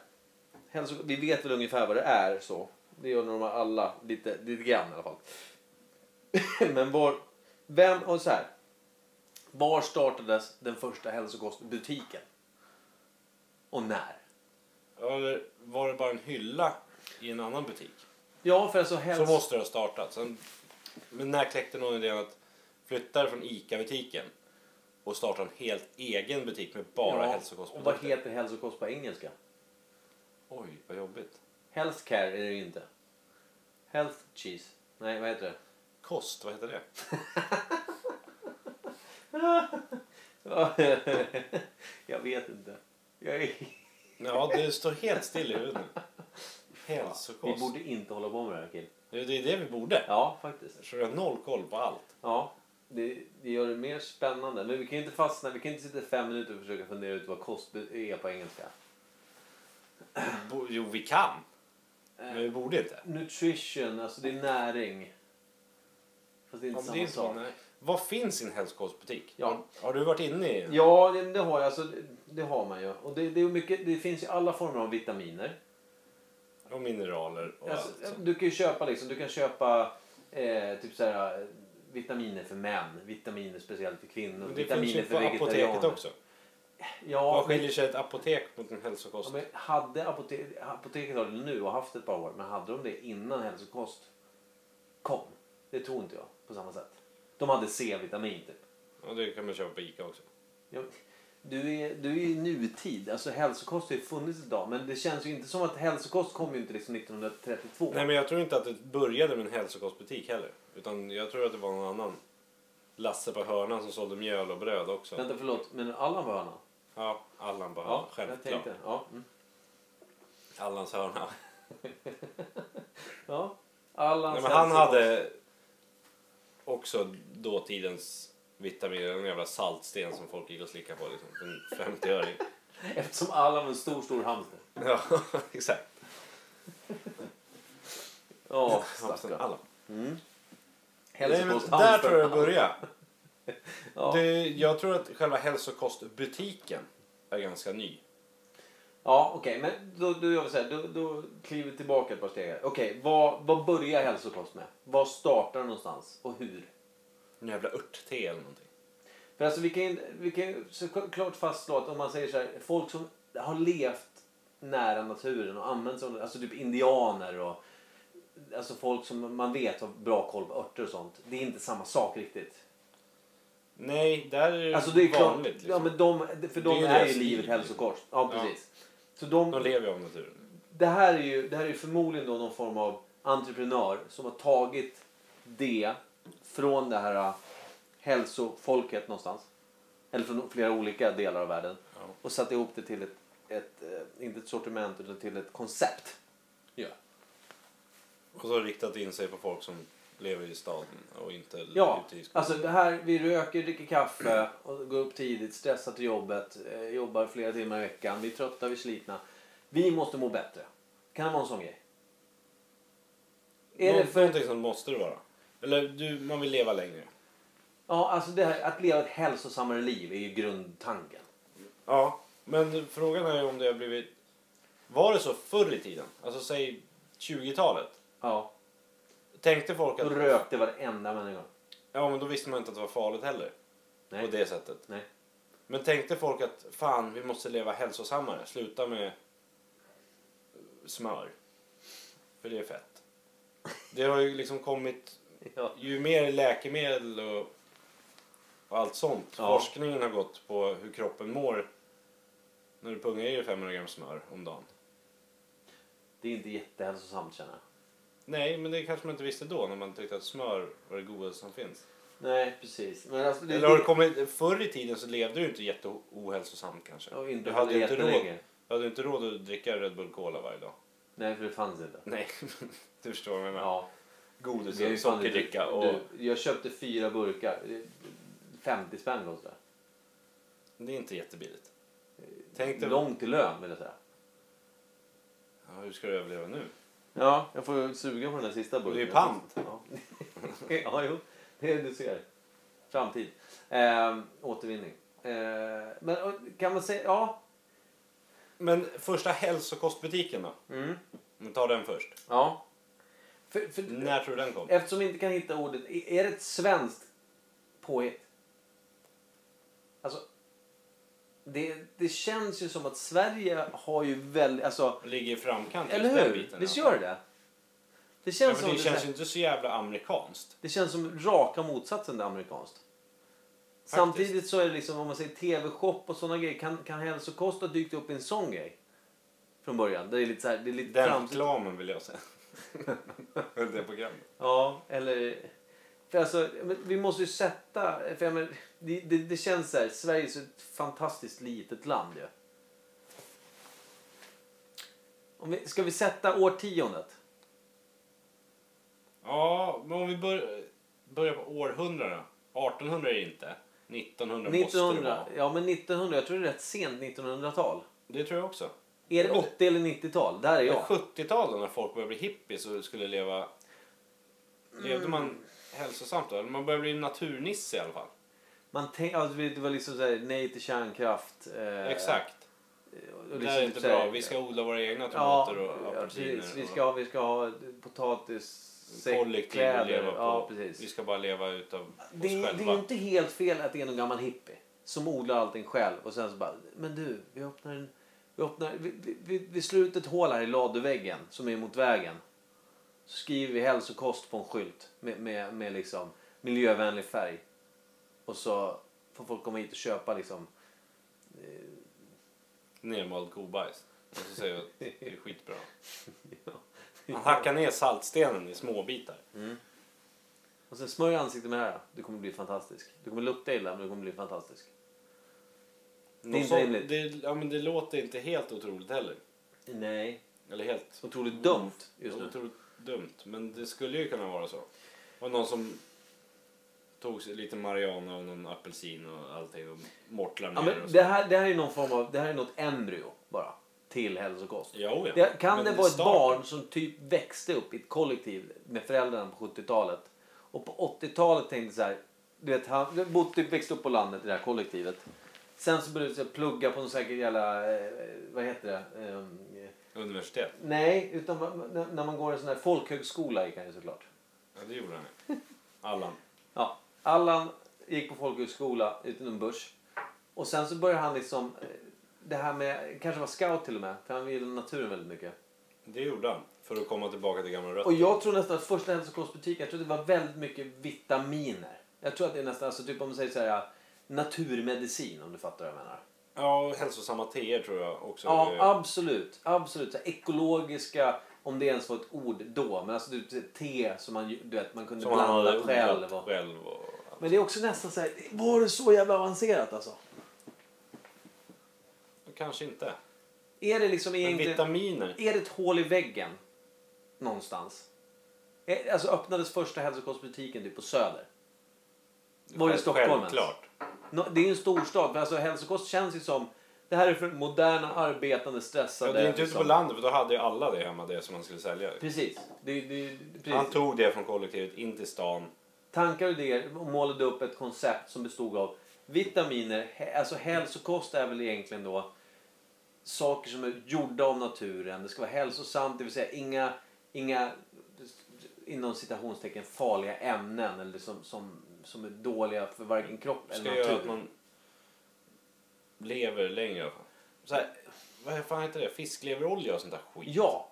Hälso, vi vet väl ungefär vad det är så. Det gör nog alla, lite, lite grann i alla fall. *laughs* Men var, vem, och så här. Var startades den första hälsokostbutiken? Och när? Eller var det bara en hylla i en annan butik? Ja, för alltså Så hälso... måste det ha startat. Sen... Men när kläckte någon idén att flytta det från ICA-butiken och starta en helt egen butik med bara ja, Och vad hälsokostprodukter? heter hälsokost på engelska? Oj, vad jobbigt. Healthcare är det ju inte. Health cheese. Nej, vad heter det? *laughs* Kost, vad heter det? Ja, jag vet inte. Jag *laughs* är... Ja, det står helt still i huvudet nu. Vi Hälsokost. borde inte hålla på med det här kill. Det är det vi borde. Ja, faktiskt. Så jag har noll koll på allt. Ja. det, det gör det mer spännande. Men vi kan ju inte fastna, vi kan ju inte sitta i fem minuter och försöka fundera ut vad kost är på engelska. Bo- Jo, vi kan. Men vi borde inte. Nutrition, alltså det är näring. Fast det är Ja, inte samma men det är inte sak. så, nej. Vad finns i en hälsokostbutik? Ja. Har, har du varit inne i en? Ja, det, det har jag. Alltså, det, det har man ju. Och det, det, är mycket, det finns ju alla former av vitaminer. Och mineraler och Alltså, allt sånt. du kan ju köpa, liksom, du kan köpa eh, typ så här, eh, vitaminer för män, vitaminer speciellt för kvinnor, Men det finns vitaminer ju på för apoteket vegetarianer. också. Vad Ja, men, skiljer sig ett apotek mot en hälsokost? ja, men hade apote- apoteket har det nu och haft ett par år, men hade de det innan hälsokost kom? Det tror inte jag på samma sätt. De hade C-vitamin typ. Och det kan man köpa på Ica också. Ja, Du är, du är i nutid. Alltså hälsokost har ju funnits idag. Men det känns ju inte som att hälsokost kom ju inte liksom 1932. Nej men jag tror inte att det började med en hälsokostbutik heller. Utan jag tror att det var någon annan. Lasse på hörnan som sålde mjöl och bröd också. Vänta förlåt, men Allan var hörna? Ja, Allan på hörnan. Självklart. Ja, mm. Allans hörna. ja. Allans Nej, men han hälsokost. hade också dåtidens vitaminer. En jävla saltsten som folk gick och slickade på liksom. En *laughs* 50-öring. Eftersom Allan var en stor, stor hamster. ja, exakt. Ja, Hamstern stackarn. Allan. Nej, men där tror jag Hälsokosthamster. det började. Ja. Det, jag tror att själva hälsokostbutiken är ganska ny. Ja, okej. Men då, då gör vi så här. Då, då kliver vi tillbaka ett par steg. här. Okej, vad, vad börjar hälsokost med? Vad startar det någonstans? Och hur? En jävla örtte eller någonting. För alltså vi kan ju- vi kan ju såklart fastslå att om man säger så här, folk som har levt nära naturen och använt sig av alltså typ indianer och alltså folk som man vet har bra koll på örter och sånt. Det är inte samma sak riktigt. Nej, där är det, Alltså det är klart, vanligt. ja, liksom. men de, för Det är de ju är, deras ju liv. livet hälsokost. Ja, Ja. precis. Så de, De lever ju av naturen. det här är ju det här är ju förmodligen då någon form av entreprenör som har tagit det från det här äh, hälsofolket någonstans. Eller från flera olika delar av världen. Och satt ihop det till ett, ett eh, inte ett sortiment utan till ett koncept. Ja. Och så har det riktat in sig på folk som lever i staden och inte Ja, ute i skogen. alltså det här, vi röker, dricker kaffe, och går upp tidigt, stressar till jobbet, eh, jobbar flera timmar i veckan, vi är trötta, vi är slitna. Vi måste må bättre. Kan det vara en sån grej? Är Nå- det för Någonting som måste det vara. Eller du, man vill leva längre. Ja, alltså det här, att leva ett hälsosammare liv är ju grundtanken. Ja, men frågan är ju om det har blivit... Var det så förr i tiden? Alltså säg 20-talet? Ja. Tänkte folk Då att... rökte varenda människa. Ja, men då visste man inte att det var farligt heller. Nej. På det sättet. Nej. Men tänkte folk att fan, vi måste leva hälsosammare. Sluta med smör. För det är fett. Det har ju liksom kommit... *laughs* Ja. Ju mer läkemedel och, och allt sånt. Ja. Forskningen har gått på hur kroppen mår när du pungar i dig 500 gram smör om dagen. Det är inte jättehälsosamt känner jag. Nej, men det kanske man inte visste då när man tyckte att smör var det godaste som finns. Nej, precis. Men alltså det... Eller har det kommit, förr i tiden så levde du inte jätteohälsosamt kanske. Ja, inte du hade ju inte jättelänge. råd, du hade inte råd att dricka Red Bull Cola varje dag. *laughs* Nej, för det fanns inte. Nej, *laughs* du förstår vad jag menar. Ja. Godis vi har ju och fan inte- sockerdricka och... Du, jag köpte fyra burkar. Det- 50 spänn kostade Det är inte jättebilligt. Tänk det. dig... Långt till lön vill jag säga. Ja, hur ska du överleva nu? Ja, jag får ju suga på den där sista burken. det är ju pant. Ja, *laughs* ja jo. Det är, du ser. Framtid. Eh, återvinning. Eh, men och, kan man säga... Ja. Men första hälsokostbutiken då? Mm. Om vi tar den först. Ja. För, för, När tror du den kom? Eftersom vi inte kan hitta ordet, i- är det ett svenskt påhitt? Alltså, det, det känns ju som att Sverige har ju väldigt, alltså, Ligger i framkant eller just den hur? biten. Visst i alla gör fall. det det? Det Ja, känns, men det som, det, känns ju inte så jävla amerikanskt. det känns som raka motsatsen till amerikanskt. Samtidigt så är det liksom, om man säger tv-shop och sådana grejer, kan, kan hälsokost ha dykt upp i en sån grej? Från början, det är lite så här, det är lite Den framtid. reklamen vill *laughs* jag säga. det programmet. Ja, eller... För alltså, men vi måste ju sätta... För jag men, det, det, det känns så här, Sverige är så ett fantastiskt litet land ju. Om vi, ska vi sätta årtiondet? Ja, men om vi bör, börjar på århundraden. 1800 är det inte. 1900, måste det 1900, vara. ja men 1900, jag tror det är rätt sent 1900-tal. Det tror jag också. Är det 80 eller 90-tal? Där är jag. 70-talet när folk började bli hippies och skulle leva... Levde Mm. man hälsosamt då? Eller Man började bli naturnisse i alla fall. Man tänk, alltså, det var liksom såhär, nej till kärnkraft. eh, Exakt. och Det liksom här är typ inte såhär- bra. Vi ska odla våra egna Ja, tomater och ja, apelsiner. precis. Vi ska, ha- vi ska ha potatis, och säck, kollektiv kläder. att leva på. Ja, precis. Vi ska bara leva utav oss det, är- det själva. är inte helt fel att det är någon gammal hippie som odlar allting själv och sen så bara, men du, vi öppnar en, vi öppnar, vi, vi, vi, vi slår ut ett hål här i laduväggen som är mot vägen. Så skriver vi hälsokost på en skylt med, med, med liksom miljövänlig färg. Och så får folk komma hit och köpa liksom, Nermald kobajs. Och så säger vi att det är skitbra. Han hackar ner saltstenen i små bitar. och sen smörj ansiktet med det här. Du kommer bli fantastisk. Du kommer lukta illa men du kommer bli fantastisk. är inte rimligt. det, ja, men det låter inte helt otroligt heller. Nej, Eller helt otroligt dumt just nu. Otroligt dumt, men det skulle ju kunna vara så. Och någon som tog sig lite marijuana och någon apelsin och allting och mortlar ner Ja, och men så. det, här, det här är någon form av, det här är något embryo bara till hälsokost. Ja, oh ja. Det, kan Men det vara ett starten- barn som typ växte upp i ett kollektiv med föräldrarna på 70-talet och på 80-talet tänkte så här, du vet han du bodde typ växte upp på landet i det här kollektivet. Sen så började jag plugga på någon säkert jävla, eh, vad heter det? Ehm, eh, Universitet? nej, utan man- när- när man går en sån här folkhögskola gick han ju såklart. Ja, det gjorde han ju. Allan. Ja, Allan gick på folkhögskola utan börs. Och sen så började han liksom, eh, det här med, kanske var scout till och med, för han gillade naturen väldigt mycket. Det gjorde han. För att komma tillbaka till gamla rötter. Och jag tror nästan att första hälsokostbutiken, jag tror det var väldigt mycket vitaminer. Jag tror att det är nästan, alltså typ om man säger så här ja, naturmedicin om du fattar vad jag menar. Ja, och hälsosamma teer tror jag också. Ja, Eh, absolut. Absolut. Så här, ekologiska, om det ens var ett ord då, men alltså typ te som man, ju- du vet, man kunde som han hade blanda odlat själv. Och... själv. Och... Men det är också nästan så här, var det så jävla avancerat alltså? Kanske inte. Är det liksom Men egentligen... vitaminer. Är det ett hål i väggen någonstans? Eh, Alltså öppnades första hälsokostbutiken typ på Söder? Var det i Stockholm ens? Självklart. Nå- Det är ju en storstad, men alltså hälsokost känns ju som... Det här är för moderna, arbetande, Ja, stressade... det är inte ute liksom. på landet för då hade ju alla det hemma, det som man skulle sälja. Precis. Det, det, precis. Han tog det från kollektivet in till stan. Tankar och idéer och målade upp ett koncept som bestod av vitaminer. hä- Alltså hälsokost är väl egentligen då saker som är gjorda av naturen. Det ska vara hälsosamt, det vill säga inga, inga inom citationstecken farliga ämnen eller som, som, som är dåliga för varken kropp ska eller göra att natur. man lever längre i alla fall. Så här, vad fan heter det? Fiskleverolja och sånt där skit. Ja!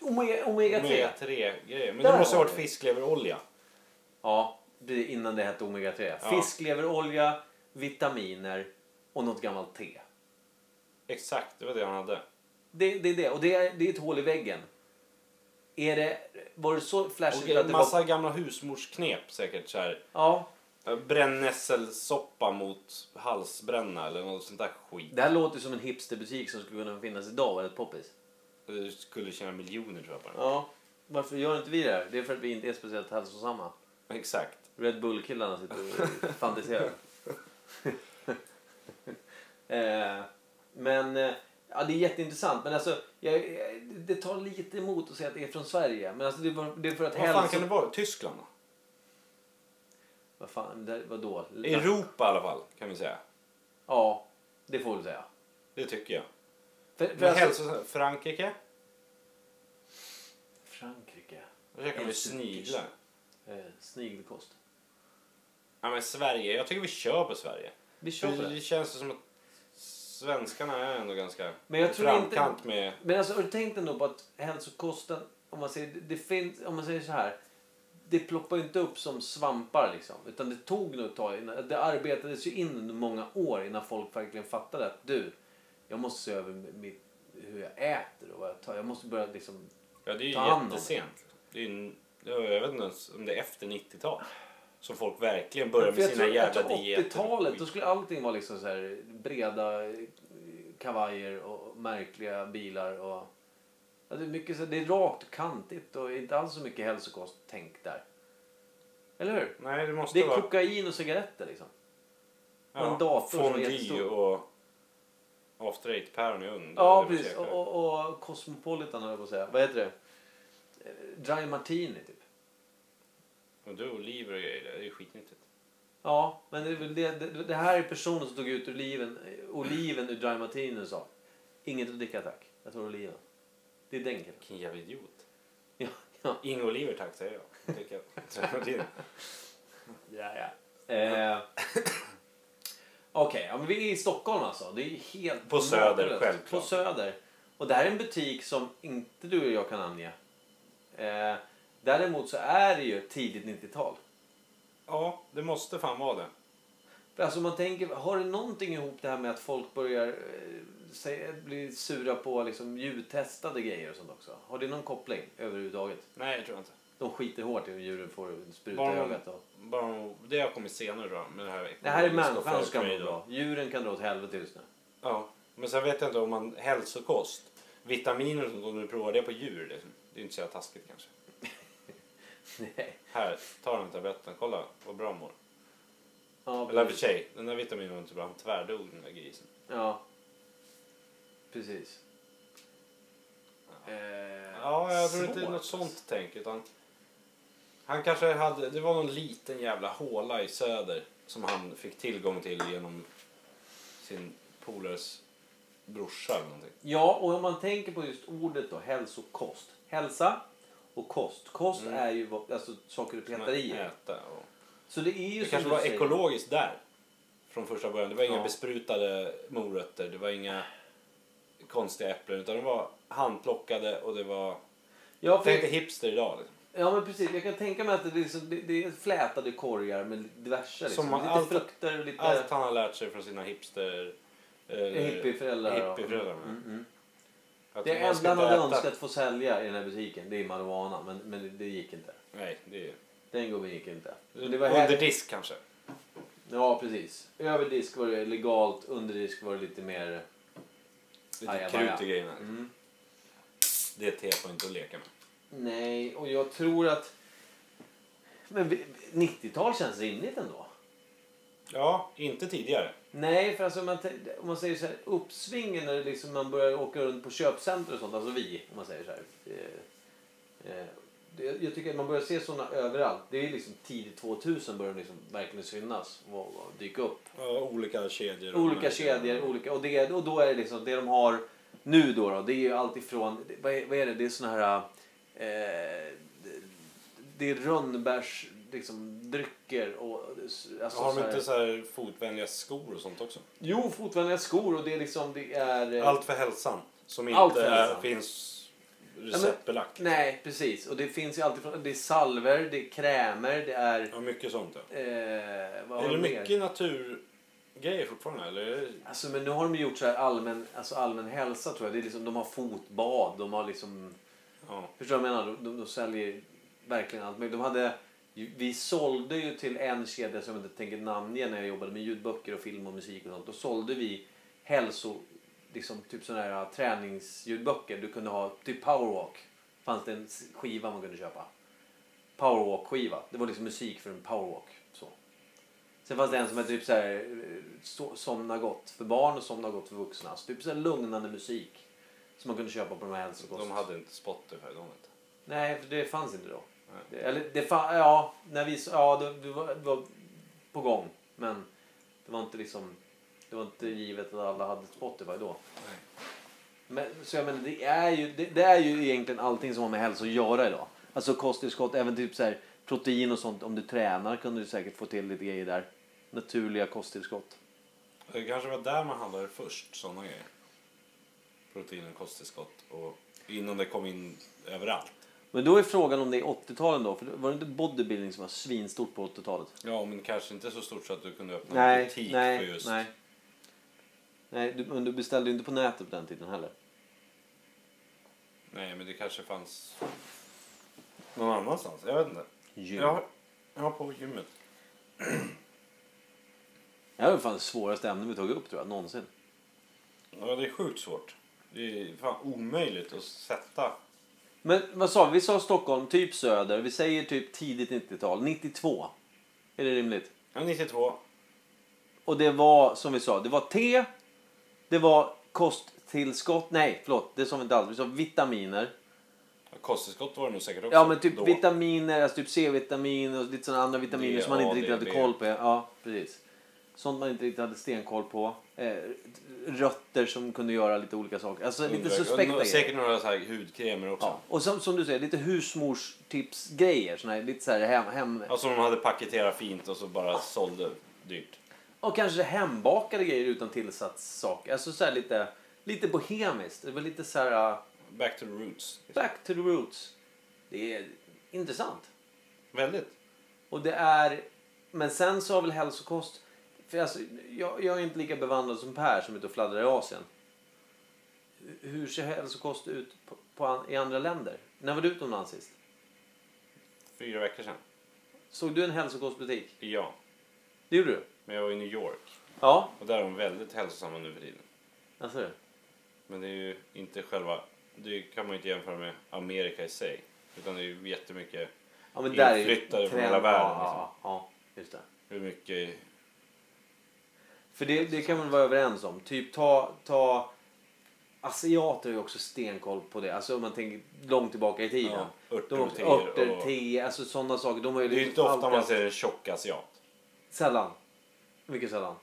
Omega, omega 3. Omega-3-grejer. Men Där det måste ha har varit vi. fiskleverolja. Ja, det- innan det hette omega 3. Ja. Fiskleverolja, vitaminer och något gammalt te. Exakt, det var det han hade. Det, det är det. Och det är, det är ett hål i väggen. Är det, var det så flashigt Och att en det massa var... gamla husmorsknep säkert. Så här, Ja. eh, brännässelsoppa mot halsbränna eller något sånt där skit. Det här låter som en hipsterbutik som skulle kunna finnas idag och vara rätt poppis. Du skulle tjäna miljoner tror jag på den. Ja. Varför gör inte vi det här? Det är för att vi inte är speciellt hälsosamma. Exakt. Red Bull-killarna sitter *laughs* och fantiserar. eh, men eh, ja, det är jätteintressant. Men alltså, jag, jag, det tar lite emot att säga att det är från Sverige. Men alltså, det, är för, det är för att Vad fan hälso... kan det vara? Tyskland då? Vad fan, där, vadå? Europa i alla fall kan vi säga. Ja, det får du säga. Det tycker jag. För, för Men alltså, hälso- Frankrike? Frankrike. Där käkar Eller vi Turkish. sniglar. Eh, snigelkost. Ja, men Sverige. Jag tycker vi kör på Sverige. Vi kör på Det, det det. känns som att svenskarna är ändå ganska Men jag i tror inte- framkant med... Men alltså, har du tänkt ändå på att hälsokosten, om man säger, det finns, om man säger så här. Det ploppar ju inte upp som svampar liksom. Utan det tog nog ett tag innan, det arbetades ju in under många år innan folk verkligen fattade att du, jag måste se över mitt, hur jag äter och vad jag tar. Jag måste börja liksom, Ja, det är ju Ta hand om det. jättesent. Det är ju, en- ja, jag vet inte ens om det är efter 90-tal. Som folk verkligen börjar För med jag sina tror, jag jävla tror dieter. 80-talet, då skulle allting vara liksom så här breda eh, kavajer och märkliga bilar och... Alltså, Ja, det, är mycket så, det är rakt och kantigt och inte alls så mycket hälsokost tänk där. Eller hur? Nej, det måste Det är vara... kokain och cigaretter liksom. och en dator som är Fondue jättestor. och after eight-päron i ugn. Ja, Det vill precis. säga- Och, och, och Cosmopolitan höll jag på att säga. Vad heter det? Eh, Dry Martini typ. Och du, oliver och grejer, det är ju skitnyttigt. Ja, men det, är väl det, det, det här är personen som tog ut oliven, oliven ur Dry Martini och sa inget att dricka tack. Jag tar oliven. Det är den killen. Vilken jävla idiot. Ja, ja. Inga oliver tack, säger jag. Tycker *laughs* jag. Så det är- Ja, ja. Eh, Okej, ja, men vi är i Stockholm alltså. Det är helt På Söder, makalöst. självklart. På Söder. Och det här är en butik som inte du och jag kan ange. Eh, däremot så är det ju tidigt 90-tal. Ja, det måste fan vara det. För Alltså man tänker, har det någonting ihop det här med att folk börjar eh, säga, bli sura på liksom djurtestade grejer och sånt också? Har det någon koppling överhuvudtaget? Nej, jag tror inte. De skiter hårt i hur djuren får spruta Bara i de- ögat. Och... Bara, det har kommit senare då. Med det, här Det här är ekologiska människan som ska må folkmöjden. bra. Djuren kan dra åt helvete just nu. *laughs* Ja, men sen vet jag inte om man hälsokost. Vitaminer och sånt, om du provar det på djur. Liksom. Det är inte så jävla taskigt kanske. Nej. Här, ta den här tabletten. Kolla vad bra den mår. Ja, Eller i och för sig, den där vitaminen var inte bra. Han tvärdog den där grisen. Ja. Precis. Eh, Ja, jag tror inte det är svårt. något sånt tänk. Utan han kanske hade, det var någon liten jävla håla i söder som han fick tillgång till genom sin polares brorsa eller någonting. Ja, och om man tänker på just ordet då, hälsokost. Hälsa och kost. Kost Mm. är ju vad- alltså, saker du Som petar i. dig. Äta och... Så det är ju Det som kanske du var säger. ekologiskt där. Från första början. Det var inga Ja. besprutade morötter. Det var inga konstiga äpplen. Utan de var handplockade och det var... Ja, för, Tänk dig hipster idag. Liksom. ja, men precis. Jag kan tänka mig att det är, liksom, det, det är flätade korgar med diverse. Liksom. Som man- lite allt- frukter och lite Allt han har lärt sig från sina hipster... Eller, Alltså- hippieföräldrar. och- hippieföräldrar, Mm, mm. Att Det man enda ska han inte hade äta- önskat få sälja i den här butiken, det är marijuana. Men, men det, det gick inte. Nej, det är... Den gubben gick inte. Men det var här- Under disk kanske. Ja, precis. Över disk var det legalt, under disk var det lite mer... Lite Aj, aj, krut aj. i grejerna. Mm. Det tepar inte att leka med. Nej, och jag tror att... Men vi- 90-tal känns rimligt ändå. Ja, inte tidigare. Nej, för alltså om man, te- om man säger så här, uppsvingen när det liksom man börjar åka runt på köpcenter och sånt, alltså vi, om man säger så här. eh, eh, det- Jag tycker att man börjar se såna överallt. Det är liksom tidigt 2000 börjar de liksom verkligen synas och, och dyka upp. Ja, olika kedjor. och Olika märken. kedjor, olika, och, det, och då är det liksom det de har nu då, då det är ju allt ifrån, det- vad är, vad är det, det är såna här, eh, det, det är rönnbärs, liksom drycker och alltså, Har så de här, inte så här fotvänliga skor och sånt också? jo fotvänliga skor och det är liksom, det är eh, Allt för hälsan. Som inte Allt för hälsan. Är, finns receptbelagt. nej precis och det finns ju allt ifrån, det är salver, det är krämer, det är, Ja, mycket sånt ja. eh, vad har Är det de mer? mycket naturgrejer fortfarande eller? är det- Alltså men nu har de ju gjort så här allmän, alltså allmän hälsa tror jag, det är liksom, de har fotbad, de har liksom Ja. Förstår du vad jag menar? De, de, de säljer verkligen allt möjligt. De hade, ju- vi sålde ju till en kedja som jag inte tänker namnge när jag jobbade med ljudböcker och film och musik och sånt. Då sålde vi hälso, liksom typ sådana här träningsljudböcker. Du kunde ha, typ powerwalk. Fanns det en s- skiva man kunde köpa. Powerwalk-skiva. Det var liksom musik för en powerwalk. Så. Sen fanns det en som hette typ så här, eh, so- somna gott för barn och somna gott för vuxna. Alltså typ så här lugnande musik. Som man kunde köpa på de här hälsokost. De hade inte Spotify de inte. Nej, för det fanns inte då. Nej. Det, eller det fanns, ja, när vi, s- ja det, det, var, det var på gång. Men det var inte liksom, det var inte givet att alla hade Spotify då. Nej. Men, så jag menar, det är, ju, det, det är ju egentligen allting som har med hälsa att göra idag. Alltså kosttillskott, även typ så här protein och sånt. Om du tränar kunde du säkert få till lite grejer där. Naturliga kosttillskott. Det kanske var där man handlade först, sådana grejer. Protein och kosttillskott och innan det kom in överallt. Men då är frågan om det är 80-talen då. För var det inte bodybuilding som var svinstort på 80-talet? Ja, men kanske inte så stort så att du kunde öppna en Nej, butik nej, för just... nej. Nej, du, men du beställde ju inte på nätet på den tiden heller. Nej, men det kanske fanns någon annanstans. Jag vet inte. Gym. Ja, ja, på gymmet. Det här var fan det svåraste ämnet vi tog upp tror jag, någonsin. Ja, det är sjukt svårt. Det är fan omöjligt att sätta Men vad sa vi? Vi sa Stockholm, typ söder. Vi säger typ tidigt 90-tal. 92. Är det rimligt? Ja, 92. Och det var, som vi sa, det var te. Det var kosttillskott. Nej, förlåt. Det sa vi inte alls. Vi sa vitaminer. Ja, Kosttillskott var det nog säkert också Ja, men typ då. vitaminer, alltså typ C-vitamin och lite sådana andra vitaminer Det- som man ja, inte riktigt det- hade det. koll på. Ja, precis. Sånt man inte riktigt hade stenkoll på. Eh, rötter som kunde göra lite olika saker. Alltså lite Underverk- suspekta och nå- grejer. Säkert några så här hudkrämer också. Ja. Och som, som du säger, lite husmorstipsgrejer. Såna här, lite så här hem, hem, Ja, som de Alltså, hade paketerat fint och så bara sålde dyrt. Och kanske hembakade grejer utan tillsatssaker. Alltså så här lite, lite bohemiskt. Det var lite så här uh, Back to the roots. back to the roots. Det är intressant. Väldigt. Och det är... Men sen så har väl hälsokost... För alltså, jag, jag är inte lika bevandrad som Per som är ute och fladdrar i Asien. Hur- Hur ser hälsokost ut på, på, an- i andra länder? När var du utomlands sist? Fyra veckor sedan. Såg du en hälsokostbutik? Ja. Det gjorde du? Men jag var i New York. Ja. Och där är de väldigt hälsosamma nu för tiden. Alltså det. Men det är ju inte själva... Det kan man ju inte jämföra med Amerika i sig. Utan det är ju jättemycket Ja, men där är ju Inflyttade från trend- hela världen, Ja, liksom. ja, ja, just det. hur mycket... För det, det kan man vara överens om. Typ ta, ta asiater har ju också stenkoll på det. Alltså om man tänker långt tillbaka i tiden. Ja, örter de och har teer. örter, och- te, alltså sådana saker. De har ju Det är ju liksom inte ofta alltid man haft- ser en tjock asiat. Sällan. Mycket sällan.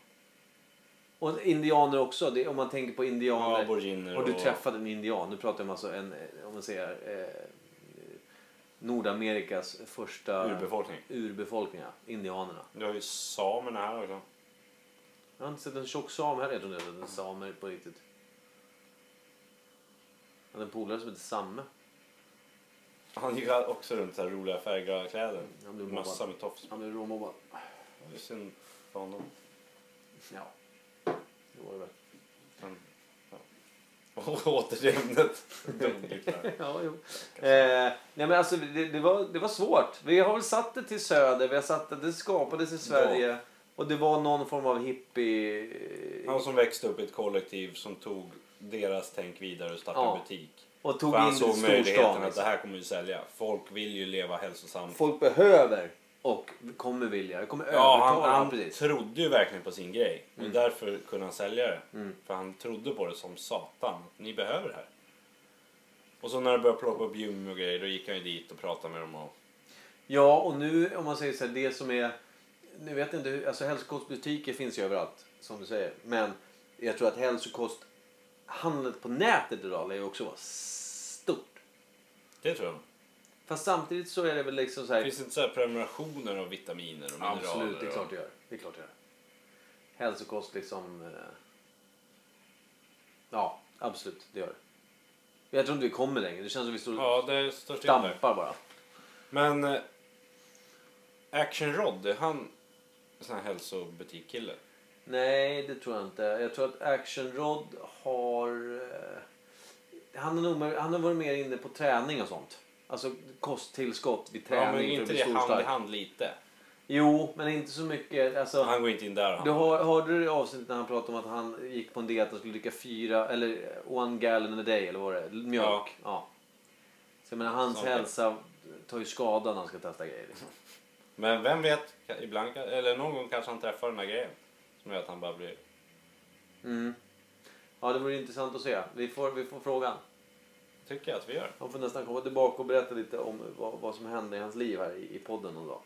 Och indianer också. Det, om man tänker på Ja, indianer. Aboriginer och du träffade en indian. Nu pratar jag om alltså en, eh, om man säger, eh, Nordamerikas första urbefolkning. urbefolkning. ja. Indianerna. Du har ju samerna här också. Jag har inte sett en tjock sam här. Jag trodde jag hade sett en samer på riktigt. Jag hade en polare som hette Samme. Han gillar också runt så här roliga färgglada kläder. Han blev Mössa mobbad. med tofs. Han blev råmobbad. Det är synd för honom. Ja. Det var det väl. Men, ja. Och åter till ämnet. Dåligt där. *laughs* Ja, jo. Eh, nej men alltså det, det, var, det var svårt. Vi har väl satt det till söder. Vi har satt det, det skapades i Sverige. Och det var någon form av hippie... *laughs* Han som växte upp i ett kollektiv som tog deras tänk vidare och startade Ja. butik. Och tog Tog in för han det såg till möjligheten storstan. att det Liksom. här kommer ju sälja. Folk vill ju leva hälsosamt. Folk behöver och kommer vilja. Det kommer Ja, övertala. han, han precis. Mm. trodde ju verkligen på sin grej. Och därför kunde han sälja det. För han trodde på det som satan. Ni behöver det här. Och så när det började ploppa upp gym och grejer, då gick han ju dit och pratade med dem. Och, Ja, och nu om man säger så här, det som är... Nu vet jag inte, hur- alltså hälsokostbutiker finns ju överallt, som du säger. Men jag tror att hälsokosthandlet på nätet idag lär ju också vara stort. det tror jag. Fast samtidigt så är det väl liksom så Det här... finns inte så här prenumerationer av vitaminer och mineraler? absolut, det är och- klart det gör. Det är klart det gör. Hälsokost liksom... eh, Ja, absolut, det gör det. Jag tror inte vi kommer längre. Det känns som vi står och Ja, det står still där. stampar bara. Men eh, Action Rod, är han en sån här hälsobutikkille? Nej, det tror jag inte. Jag tror att Action Rod har... eh, Han, är nog, mer- han har varit mer inne på träning och sånt. Alltså kosttillskott vid träning. Ja, för men att inte bli stor och det hand i stark. hand lite? Jo, men inte så mycket. Alltså, Han går inte in där. Han. du har, hörde du det avsnittet när han pratade om att han gick på en diet och skulle dricka fyra, eller one gallon a day eller vad det är, mjölk. Ja. Ja. Så jag menar, hans Sånt där. hälsa tar ju skada när han ska testa grejer. Liksom. Men vem vet, ka- ibland, ka- eller någon gång kanske han träffar den där grejen. Som gör att han bara blir... Mm. Ja, det vore intressant att se. Vi får, vi får frågan. Tycker jag att vi gör. Han får nästan komma tillbaka och berätta lite om vad, vad som hände i hans liv här i, i podden någon dag.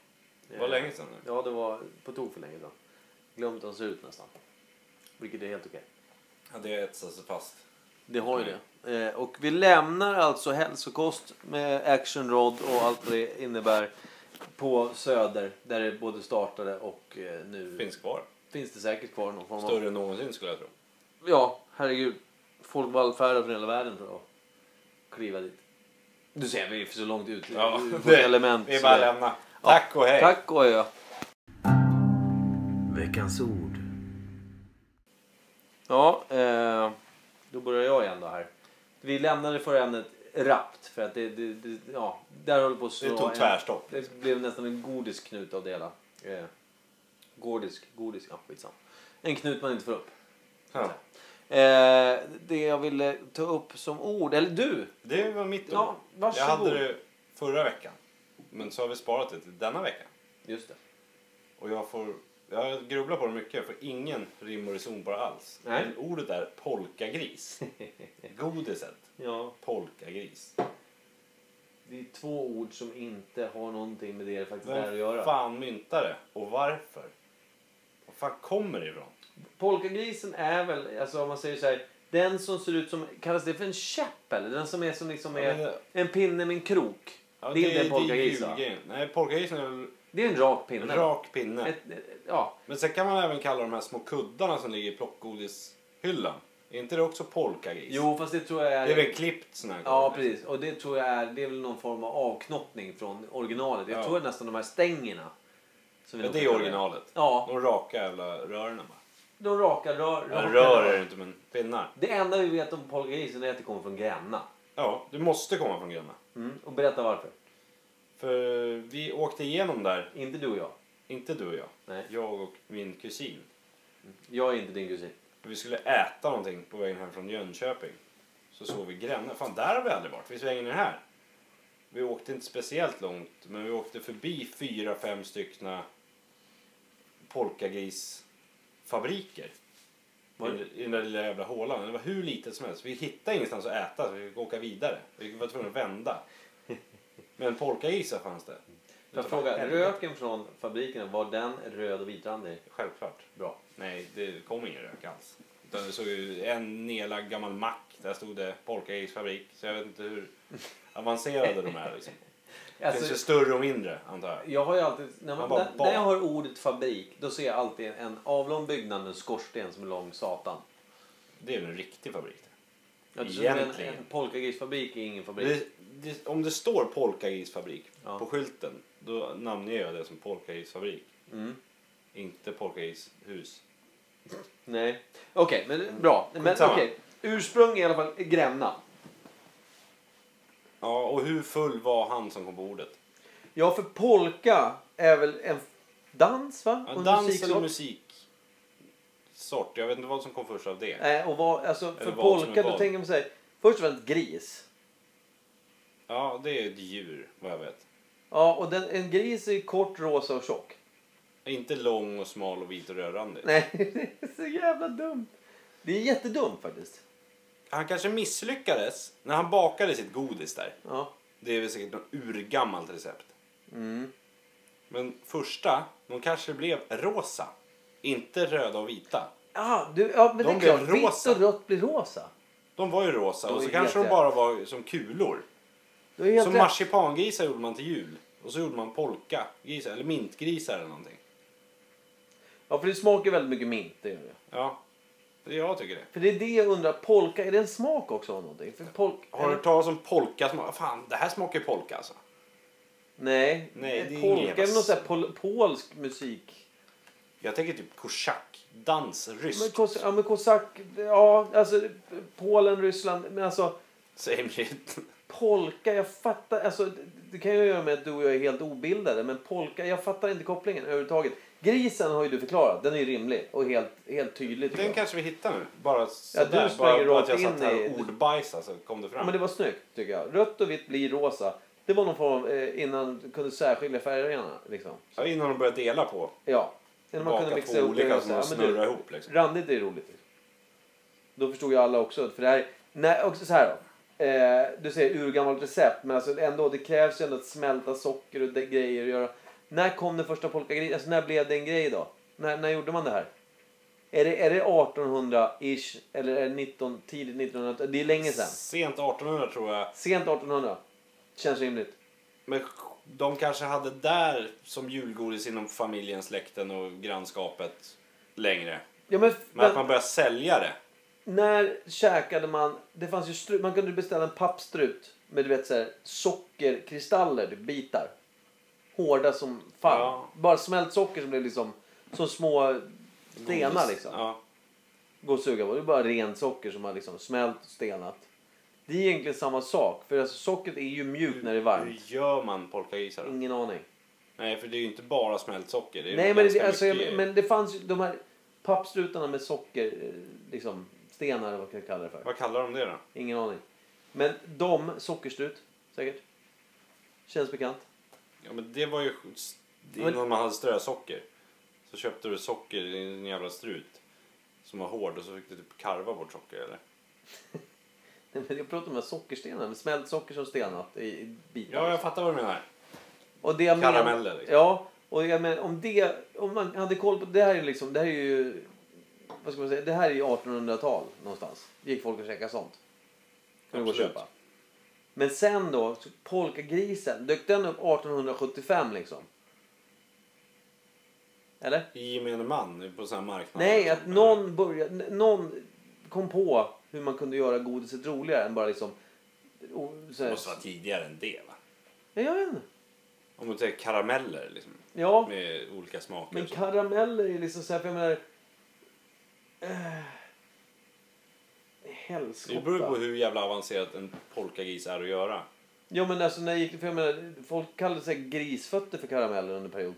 Det var Eh, länge sedan nu. Ja, det var på tok för länge sedan. Glömt hur han ser ut nästan. Vilket är helt okej. Ja, det etsar sig fast. Det har ju det. Eh, och vi lämnar alltså hälsokost med Action Rod och allt vad det innebär på Söder där det både startade och eh, nu Finns kvar. finns det säkert kvar någon form av... Större än någonsin skulle jag tro. Ja, herregud. Folk vallfärdar från hela världen för att kliva dit. Du ser, vi är så långt ut Ja, ur vårt *laughs* det- element. Vi så bara det- lämna. Tack och hej! Tack och adjö. Veckans ord. Ja, eh, då börjar jag igen då här. Vi lämnade förra ämnet rappt för att det, det, det ja, där håller på att slå Det tog en- tvärstopp. Det blev nästan en godisknut av det hela. Eh, gordisk, godisk, ja skitsamma. En knut man inte får upp. Ja. Eh, det jag ville ta upp som ord, eller du. Det var mitt ord. Ja, jag varsågod. hade det förra veckan. Men så har vi sparat det till denna vecka. Just det. Och jag får... Jag grubblar på det mycket. Jag får ingen rim och reson på det alls. Nej. Men ordet är polkagris. *laughs* Godiset. Ja, Polkagris. det är två ord som inte har någonting med det det faktiskt är att Vem göra. fan myntade det? Och varför? Var fan kommer det ifrån? Polkagrisen är väl, alltså om man säger så här, den som ser ut som, kallas det för en käpp eller? Den som är som liksom Ja, är men- en pinne med en krok. Ja, det är inte en polkagris det är va? julgrejen. Nej, polkagrisen är väl Det är en rak pinne. en va? rak pinne. Ett, ett- ja, Men sen kan man även kalla de här små kuddarna som ligger i plockgodishyllan. Är inte det också polkagris? jo fast det tror jag är... Det är väl klippt sån här Ja, gång. precis. Och det tror jag är, det är väl någon form av avknoppning från originalet. Jag Ja. tror nästan de här stängerna. som vi Ja, nog det är kallar originalet. Ja, De raka jävla rören bara. de raka rör. Ja, Raka rör är det inte men pinnar. Det enda vi vet om polkagrisen är att det kommer från Gränna. Ja, du måste komma från Gränna. Mm. Och berätta varför. För vi åkte igenom där, Inte du och jag. inte du och jag. Nej. Jag och min kusin. Jag är inte din kusin. Vi skulle äta någonting på vägen hem från Jönköping. Så såg vi Gränna. Fan, där har vi aldrig varit. Vi svänger ner här. Vi åkte inte speciellt långt, men vi åkte förbi fyra, fem styckna polkagrisfabriker. Var- I- I den där lilla jävla hålan. Det var hur litet som helst. Vi hittade ingenstans att äta, så vi fick åka vidare. Vi var tvungna *laughs* att vända. Men polkagrisar fanns det. Får jag fråga, röken från fabriken, var den röd och vitrandig? Självklart. Bra. Nej, det kom ingen rök alls. Utan det såg ju en nedlagd gammal mack. Där stod det Polkagris fabrik. Så jag vet *laughs* inte hur avancerade de är. Liksom. Finns det Alltså, större och mindre, antar jag. jag har ju alltid, när, man, Man bara när, bad. när jag hör ordet fabrik, då ser jag alltid en avlång byggnad med en skorsten som är lång satan. Det är väl en riktig fabrik. det. Jag tror en, Egentligen. en polkagrisfabrik är ingen fabrik. Det, det, om det står Polkagris fabrik Ja. på skylten, då namnger jag det som Polkagris fabrik. Mm. Inte Polkagris hus. Nej. Okej, men bra. Men, Skitsamma. okej. Ursprung i alla fall Gränna. Ja, och hur full var han som kom på ordet? Ja, för polka är väl en dans va? Ja, Och dans musiksort. eller musik? Sort. Jag vet inte vad som kom först av det. Nej, och vad, alltså, för vad som är polka då vad. tänker man sig först och främst gris. Ja, det är ett djur, vad jag vet. Ja, och den, en gris är kort, rosa och tjock. Inte lång och smal och vit och rödrandig. Nej, *laughs* det är så jävla dumt. Det är jättedumt faktiskt. Han kanske misslyckades när han bakade sitt godis där. Ja. Det är väl säkert något urgammalt recept. Mm. Men första, de kanske blev rosa. Inte röda och vita. Ah, du, ja, men De det är blir klart. Vitt rosa. och rött blir rosa. De var ju rosa De och är så kanske de jätte- bara var som kulor. Du är helt Som rätt. marsipangrisar gjorde man till jul. Och så gjorde man polkagrisar, eller mintgrisar eller någonting. Ja, för det smakar väldigt mycket mint. Det gör det. Ja, det är jag tycker det. För det är det jag undrar, polka, är det en smak också av någonting? För polk, Har du hört talas om polka? som- Fan, det här smakar ju polka alltså. Nej, Nej, det är ingen polka jävla är någon sån här pol, polsk musik. Jag tänker typ kosack, dans, Men, rysk. kos, ja, men kosack, ja, alltså Polen, Ryssland, men alltså Same shit. *laughs* polka, jag fattar, alltså det- det kan ju göra med att du och jag är helt obildade, men polka, jag fattar inte kopplingen överhuvudtaget. Grisen har ju du förklarat, den är ju rimlig och helt, helt tydlig tycker Den jag. kanske vi hittar nu. Bara du sådär. bara, sprang bara rakt att jag in satt här i- och ordbajsade så kom det Ja, fram. men det var snyggt tycker jag. Rött och vitt blir rosa. Det var någon form av, eh, innan du kunde särskilja färgerna liksom. Ja, Innan de började dela på. Ja. Innan man kunde Baka mixa två ihop det olika och som säga, ja, de men du, snurrar ihop liksom. Randigt är roligt. Då förstod ju alla också. För det här, nej, också så här då. Eh, du säger urgammalt recept men alltså ändå, det krävs ju ändå att smälta socker och de, grejer. Och göra. När kom den första polkagris? Alltså när blev det en grej då? När, när gjorde man det här? Är det, är det 1800-ish eller är det 19, tidigt 1900? Det är länge sedan. Sent 1800 tror jag. Sent 1800. Känns rimligt. Men de kanske hade där som julgodis inom familjen, släkten och grannskapet längre. Ja, men, Men men, att man började sälja det. När käkade man... Det fanns ju strut, man kunde beställa en pappstrut med du vet, så här, sockerkristaller, typ bitar. Hårda som fan. Ja. Bara smält socker som blev liksom som små stenar. Godis. Liksom. Ja. Gå och suga på. Det är bara rent socker som har liksom smält och stenat. Det är egentligen samma sak. För alltså, sockret är ju mjukt när det är varmt. Hur gör man polkagrisar då? Ingen aning. Nej, för det är ju inte bara smält socker. Det är Nej, ju men det, ganska alltså, mycket jag, men det fanns ju de här pappstrutarna med socker eh, liksom, Stenar eller vad man kan kalla det för. Vad kallar de det då? Ingen aning. Men de, sockerstrut säkert. Känns bekant. *laughs* Ja men det var ju sk- Men- innan man hade strösocker. Så köpte du socker i en jävla strut. Som var hård och så fick du typ karva bort socker eller? Nej, men Jag pratar om de här sockerstenarna. med Smält socker som stenat i i bitar. Ja jag fattar vad du menar. och det jag men- karameller, liksom. Ja. Och jag men, om det... Om man hade koll på... Det här är liksom... Det här är ju... Vad ska man säga? Det här är ju 1800-tal någonstans. Gick folk och käkade sånt. Kunde gå och Absolut. köpa. Men sen då, så polkagrisen. Dök den upp 1875 liksom? Eller? I gemene man på sån här marknad. liksom. Nej, att någon, började, n- någon kom på hur man kunde göra godiset roligare än bara liksom... o- så Det här- måste vara tidigare än det va? Ja, jag vet inte. Om du tänker karameller liksom. Ja, Med olika smaker men och så. karameller är liksom så här, för jag menar... eh, Det beror ju på Helskotta. hur jävla avancerat en polkagris är att göra. *laughs* Ja, men alltså när jag gick, för jag menar, folk kallade sig grisfötter för karameller under en period.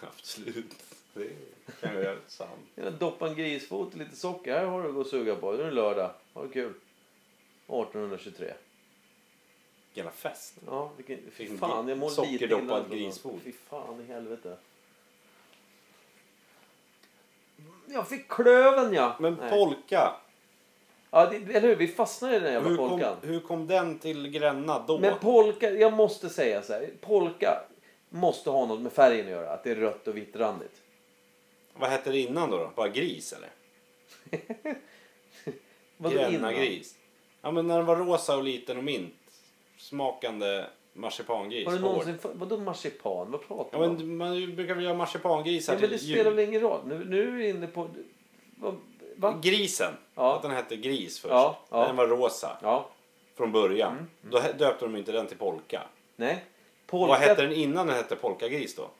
Absolut. Det kan jag göra sant. Jag menar, doppa en grisfot i lite socker, här har du att gå och suga på. Nu är det lördag, ha det kul. 1823. Jävla fest. Ja, vilken, fy Vilken fan, jag mår lite sockerdoppad illa ändå. grisfot. Fy fan i helvete. Jag fick klöven ja. Men Nej. polka. ja det, eller hur, vi fastnade i den jävla Hur kom, polkan. hur kom den till Gränna då? Men polka, jag måste säga så här. Polka måste ha något med färgen att göra. Att det är rött och vitt randigt. Vad hette det innan då? då? Bara gris eller? Vadå Gränna innan? gris. Ja men när den var rosa och liten och mint. Smakande marsipangris. Har du hård. någonsin, vadå marsipan? Vad pratar Ja du om? men man brukar väl göra marsipangrisar ja, men det till spelar väl jul. ingen roll. Nu, nu är vi inne på... vad- Va? Grisen. Ja. Att den hette gris först. Ja, ja. Mm, Den var rosa Ja, från början. Då he- döpte de inte den till polka. nej. Vad Polka hette den innan den hette polkagris då?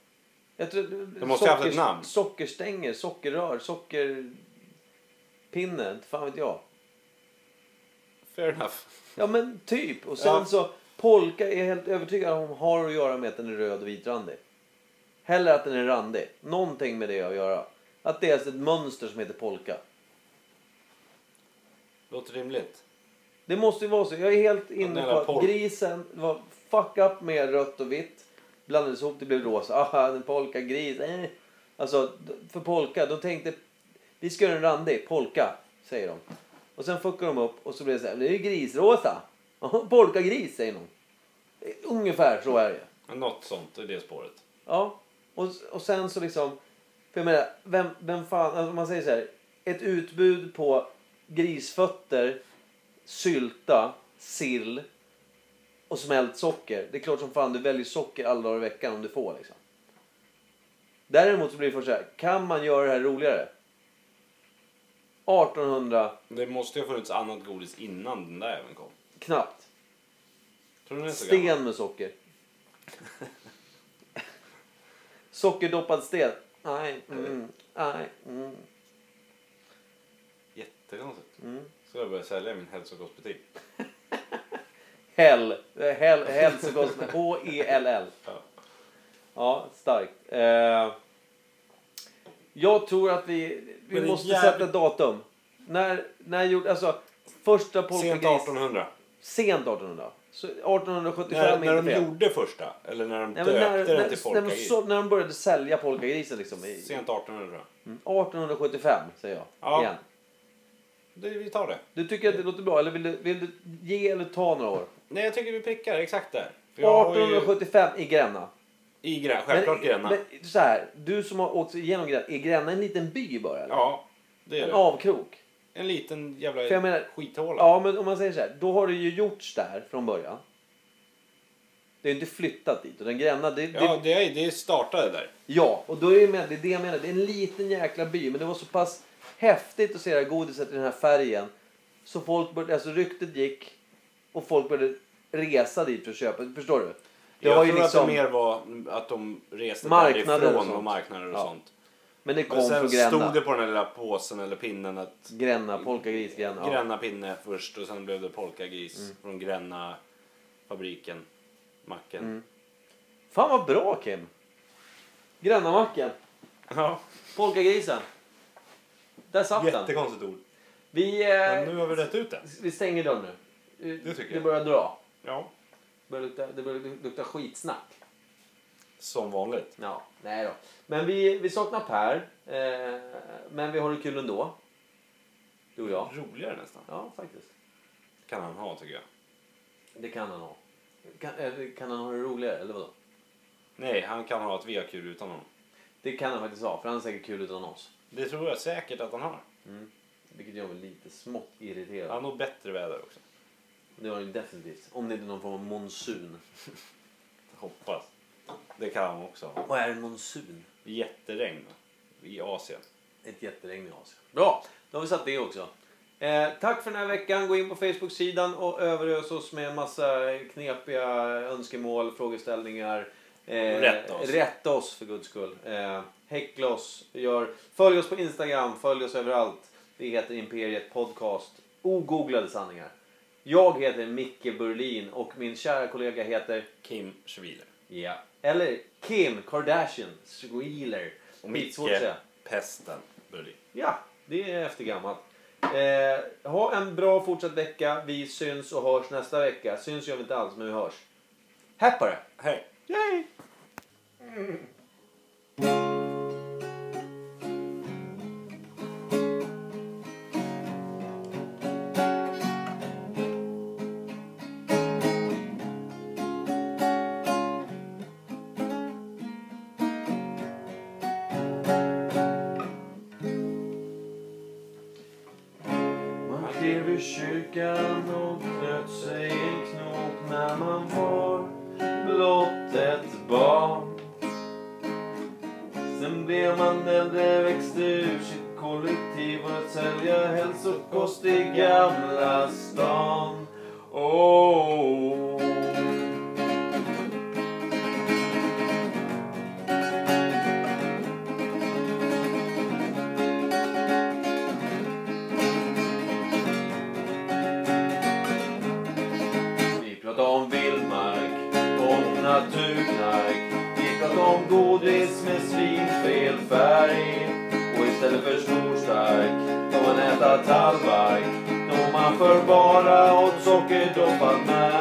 Jag tror, De måste ju haft ett namn. Sockerstänger, sockerrör, sockerpinne. Inte fan vet jag. Fair enough. Ja men typ. Och sen Ja. så polka är jag helt övertygad om har att göra med att den är röd och vitrandig. Hellre att den är randig. Någonting med det att göra. Att det är ett mönster som heter polka. Låter rimligt. Det måste ju vara så. Jag är helt inne den på jävla att pol- grisen var fuck up med rött och vitt. Blandades ihop, det blev rosa. Aha, en polka, gris. Eh. Alltså, d- för polka, de tänkte vi ska göra en randig, polka, säger de. Och sen fuckar de upp och så blir det så här, det är ju grisrosa. *laughs* Aha, Polka gris, säger någon. Eh, Ungefär så är det. Något sånt i det spåret. Ja, och, och sen så liksom... För jag menar, vem, vem fan... Alltså om man säger så här. Ett utbud på grisfötter, sylta, sill och smält socker. Det är klart som fan du väljer socker alla dagar i veckan om du får liksom. Däremot så blir det först så här. Kan man göra det här roligare? 1800 Det måste ju ha funnits annat godis innan den där även kom. knappt. Tror du den är så gammal? Sten med socker. Sockerdoppad sten. Nej, mm, nej, mm. Jättekonstigt. Mm. Ska jag börja sälja i min hälsokostbutik? Hell. eh, Hell hälsokost med H-E-L-L. Ja. E Ja, starkt. Eh, jag tror att vi, vi Men det är måste jävligt- sätta datum. När, när gjorde, alltså första polkagris... Sent 1800. Sent 1800. Så 1875 När, när är de inte fel. gjorde första. Eller när de Nej, men döpte när, när, den till när, de folkagris. så, när de började sälja polkagrisen liksom. I, Sent 1800 tror jag. mm, 1875 säger jag. Ja. Igen. Det, vi tar det. Du tycker att det låter bra eller vill du, vill du ge eller ta några år? Nej jag tycker vi prickar exakt där. För jag har ju- 1875 i Gränna. I Gränna. Självklart Gränna. Men så här, du som har åkt igenom Gränna, är Gränna en liten by bara eller? Ja. Det är En det. avkrok? En liten jävla För jag menar- skithåla. Ja, men om man säger så här, då har det ju gjorts där från början. Det är ju inte flyttat dit. Och den Gränna, det, det, Ja, det, är, det startade där. Ja, och då är det, med, det är det jag menar. Det är en liten jäkla by, men det var så pass häftigt att se det här godiset i den här färgen. Så folk började, alltså ryktet gick och folk började resa dit för att köpa. Förstår du? Det jag var ju tror liksom, att det mer var att de reste Marknader och därifrån sånt. och marknader och Ja. sånt. men det Men kom sen från stod Gränna. det på den här lilla påsen eller pinnen att Gränna, polkagris, Gränna. Ja. Mm. Gränna pinne först och sen blev det polkagris från Gränna fabriken, macken. Mm. Fan vad bra Kim! Grännamacken, Ja, polkagrisen. Där satt den. jättekonstigt ord. Vi, Men eh, nu har vi rätt ut det. vi stänger dörren nu. Eh, Det tycker Det jag. börjar dra. Ja. Det börjar lukta, det börjar lukta skitsnack. Som vanligt. Ja, nej då. Men vi, vi saknar Per. Eh, men vi har det kul ändå. Du och jag. Roligare nästan. Ja, faktiskt. Kan han ha tycker jag. Det kan han ha. Kan, eller kan han ha det roligare, eller vadå? Nej, han kan ha ett VQ utan honom. Det kan han faktiskt ha, för han är säkert kul utan oss. Det tror jag säkert att han har. Vilket gör mig lite smått irriterad. Han har nog bättre väder också. Det har han ju definitivt. Om det inte är någon form av monsun. Hoppas. Det kan han också ha. Vad är en monsun? Jätteregn i Asien. Ett jätteregn i Asien. Bra, då har vi satt det också. Eh, tack för den här veckan. Gå in på Facebook-sidan och överös oss med en massa knepiga önskemål, frågeställningar. Eh, Rätta oss. rätta oss för guds skull. Eh, häckla oss. Gör, följ oss på Instagram, följ oss överallt. Vi heter Imperiet Podcast. Ogooglade sanningar. Jag heter Micke Burlin och min kära kollega heter Kim Schwiler. Ja. Eller Kim Kardashian Squealer. Och Skitsvårt att Micke säga. Pesten Berlin. Ja, det är eftergammalt. Eh, ha en bra fortsatt vecka. Vi syns och hörs nästa vecka. Syns gör vi inte alls, men vi hörs. Häpp på det! Hej! Yay! Man klev ur kyrkan och knöt sig en knot när man var blott ett barn. Sen blev man äldre, växte ur sitt kollektiv och sälja hälsokost i Gamla stan. Oh. Vi pratar om vildmark, om naturknark. Vi pratar om godis med svinfel färg. Och istället för storstark får man äta tallbark. Då man för bara åt sockerdroppad märg. oh, oh, Oh, oh,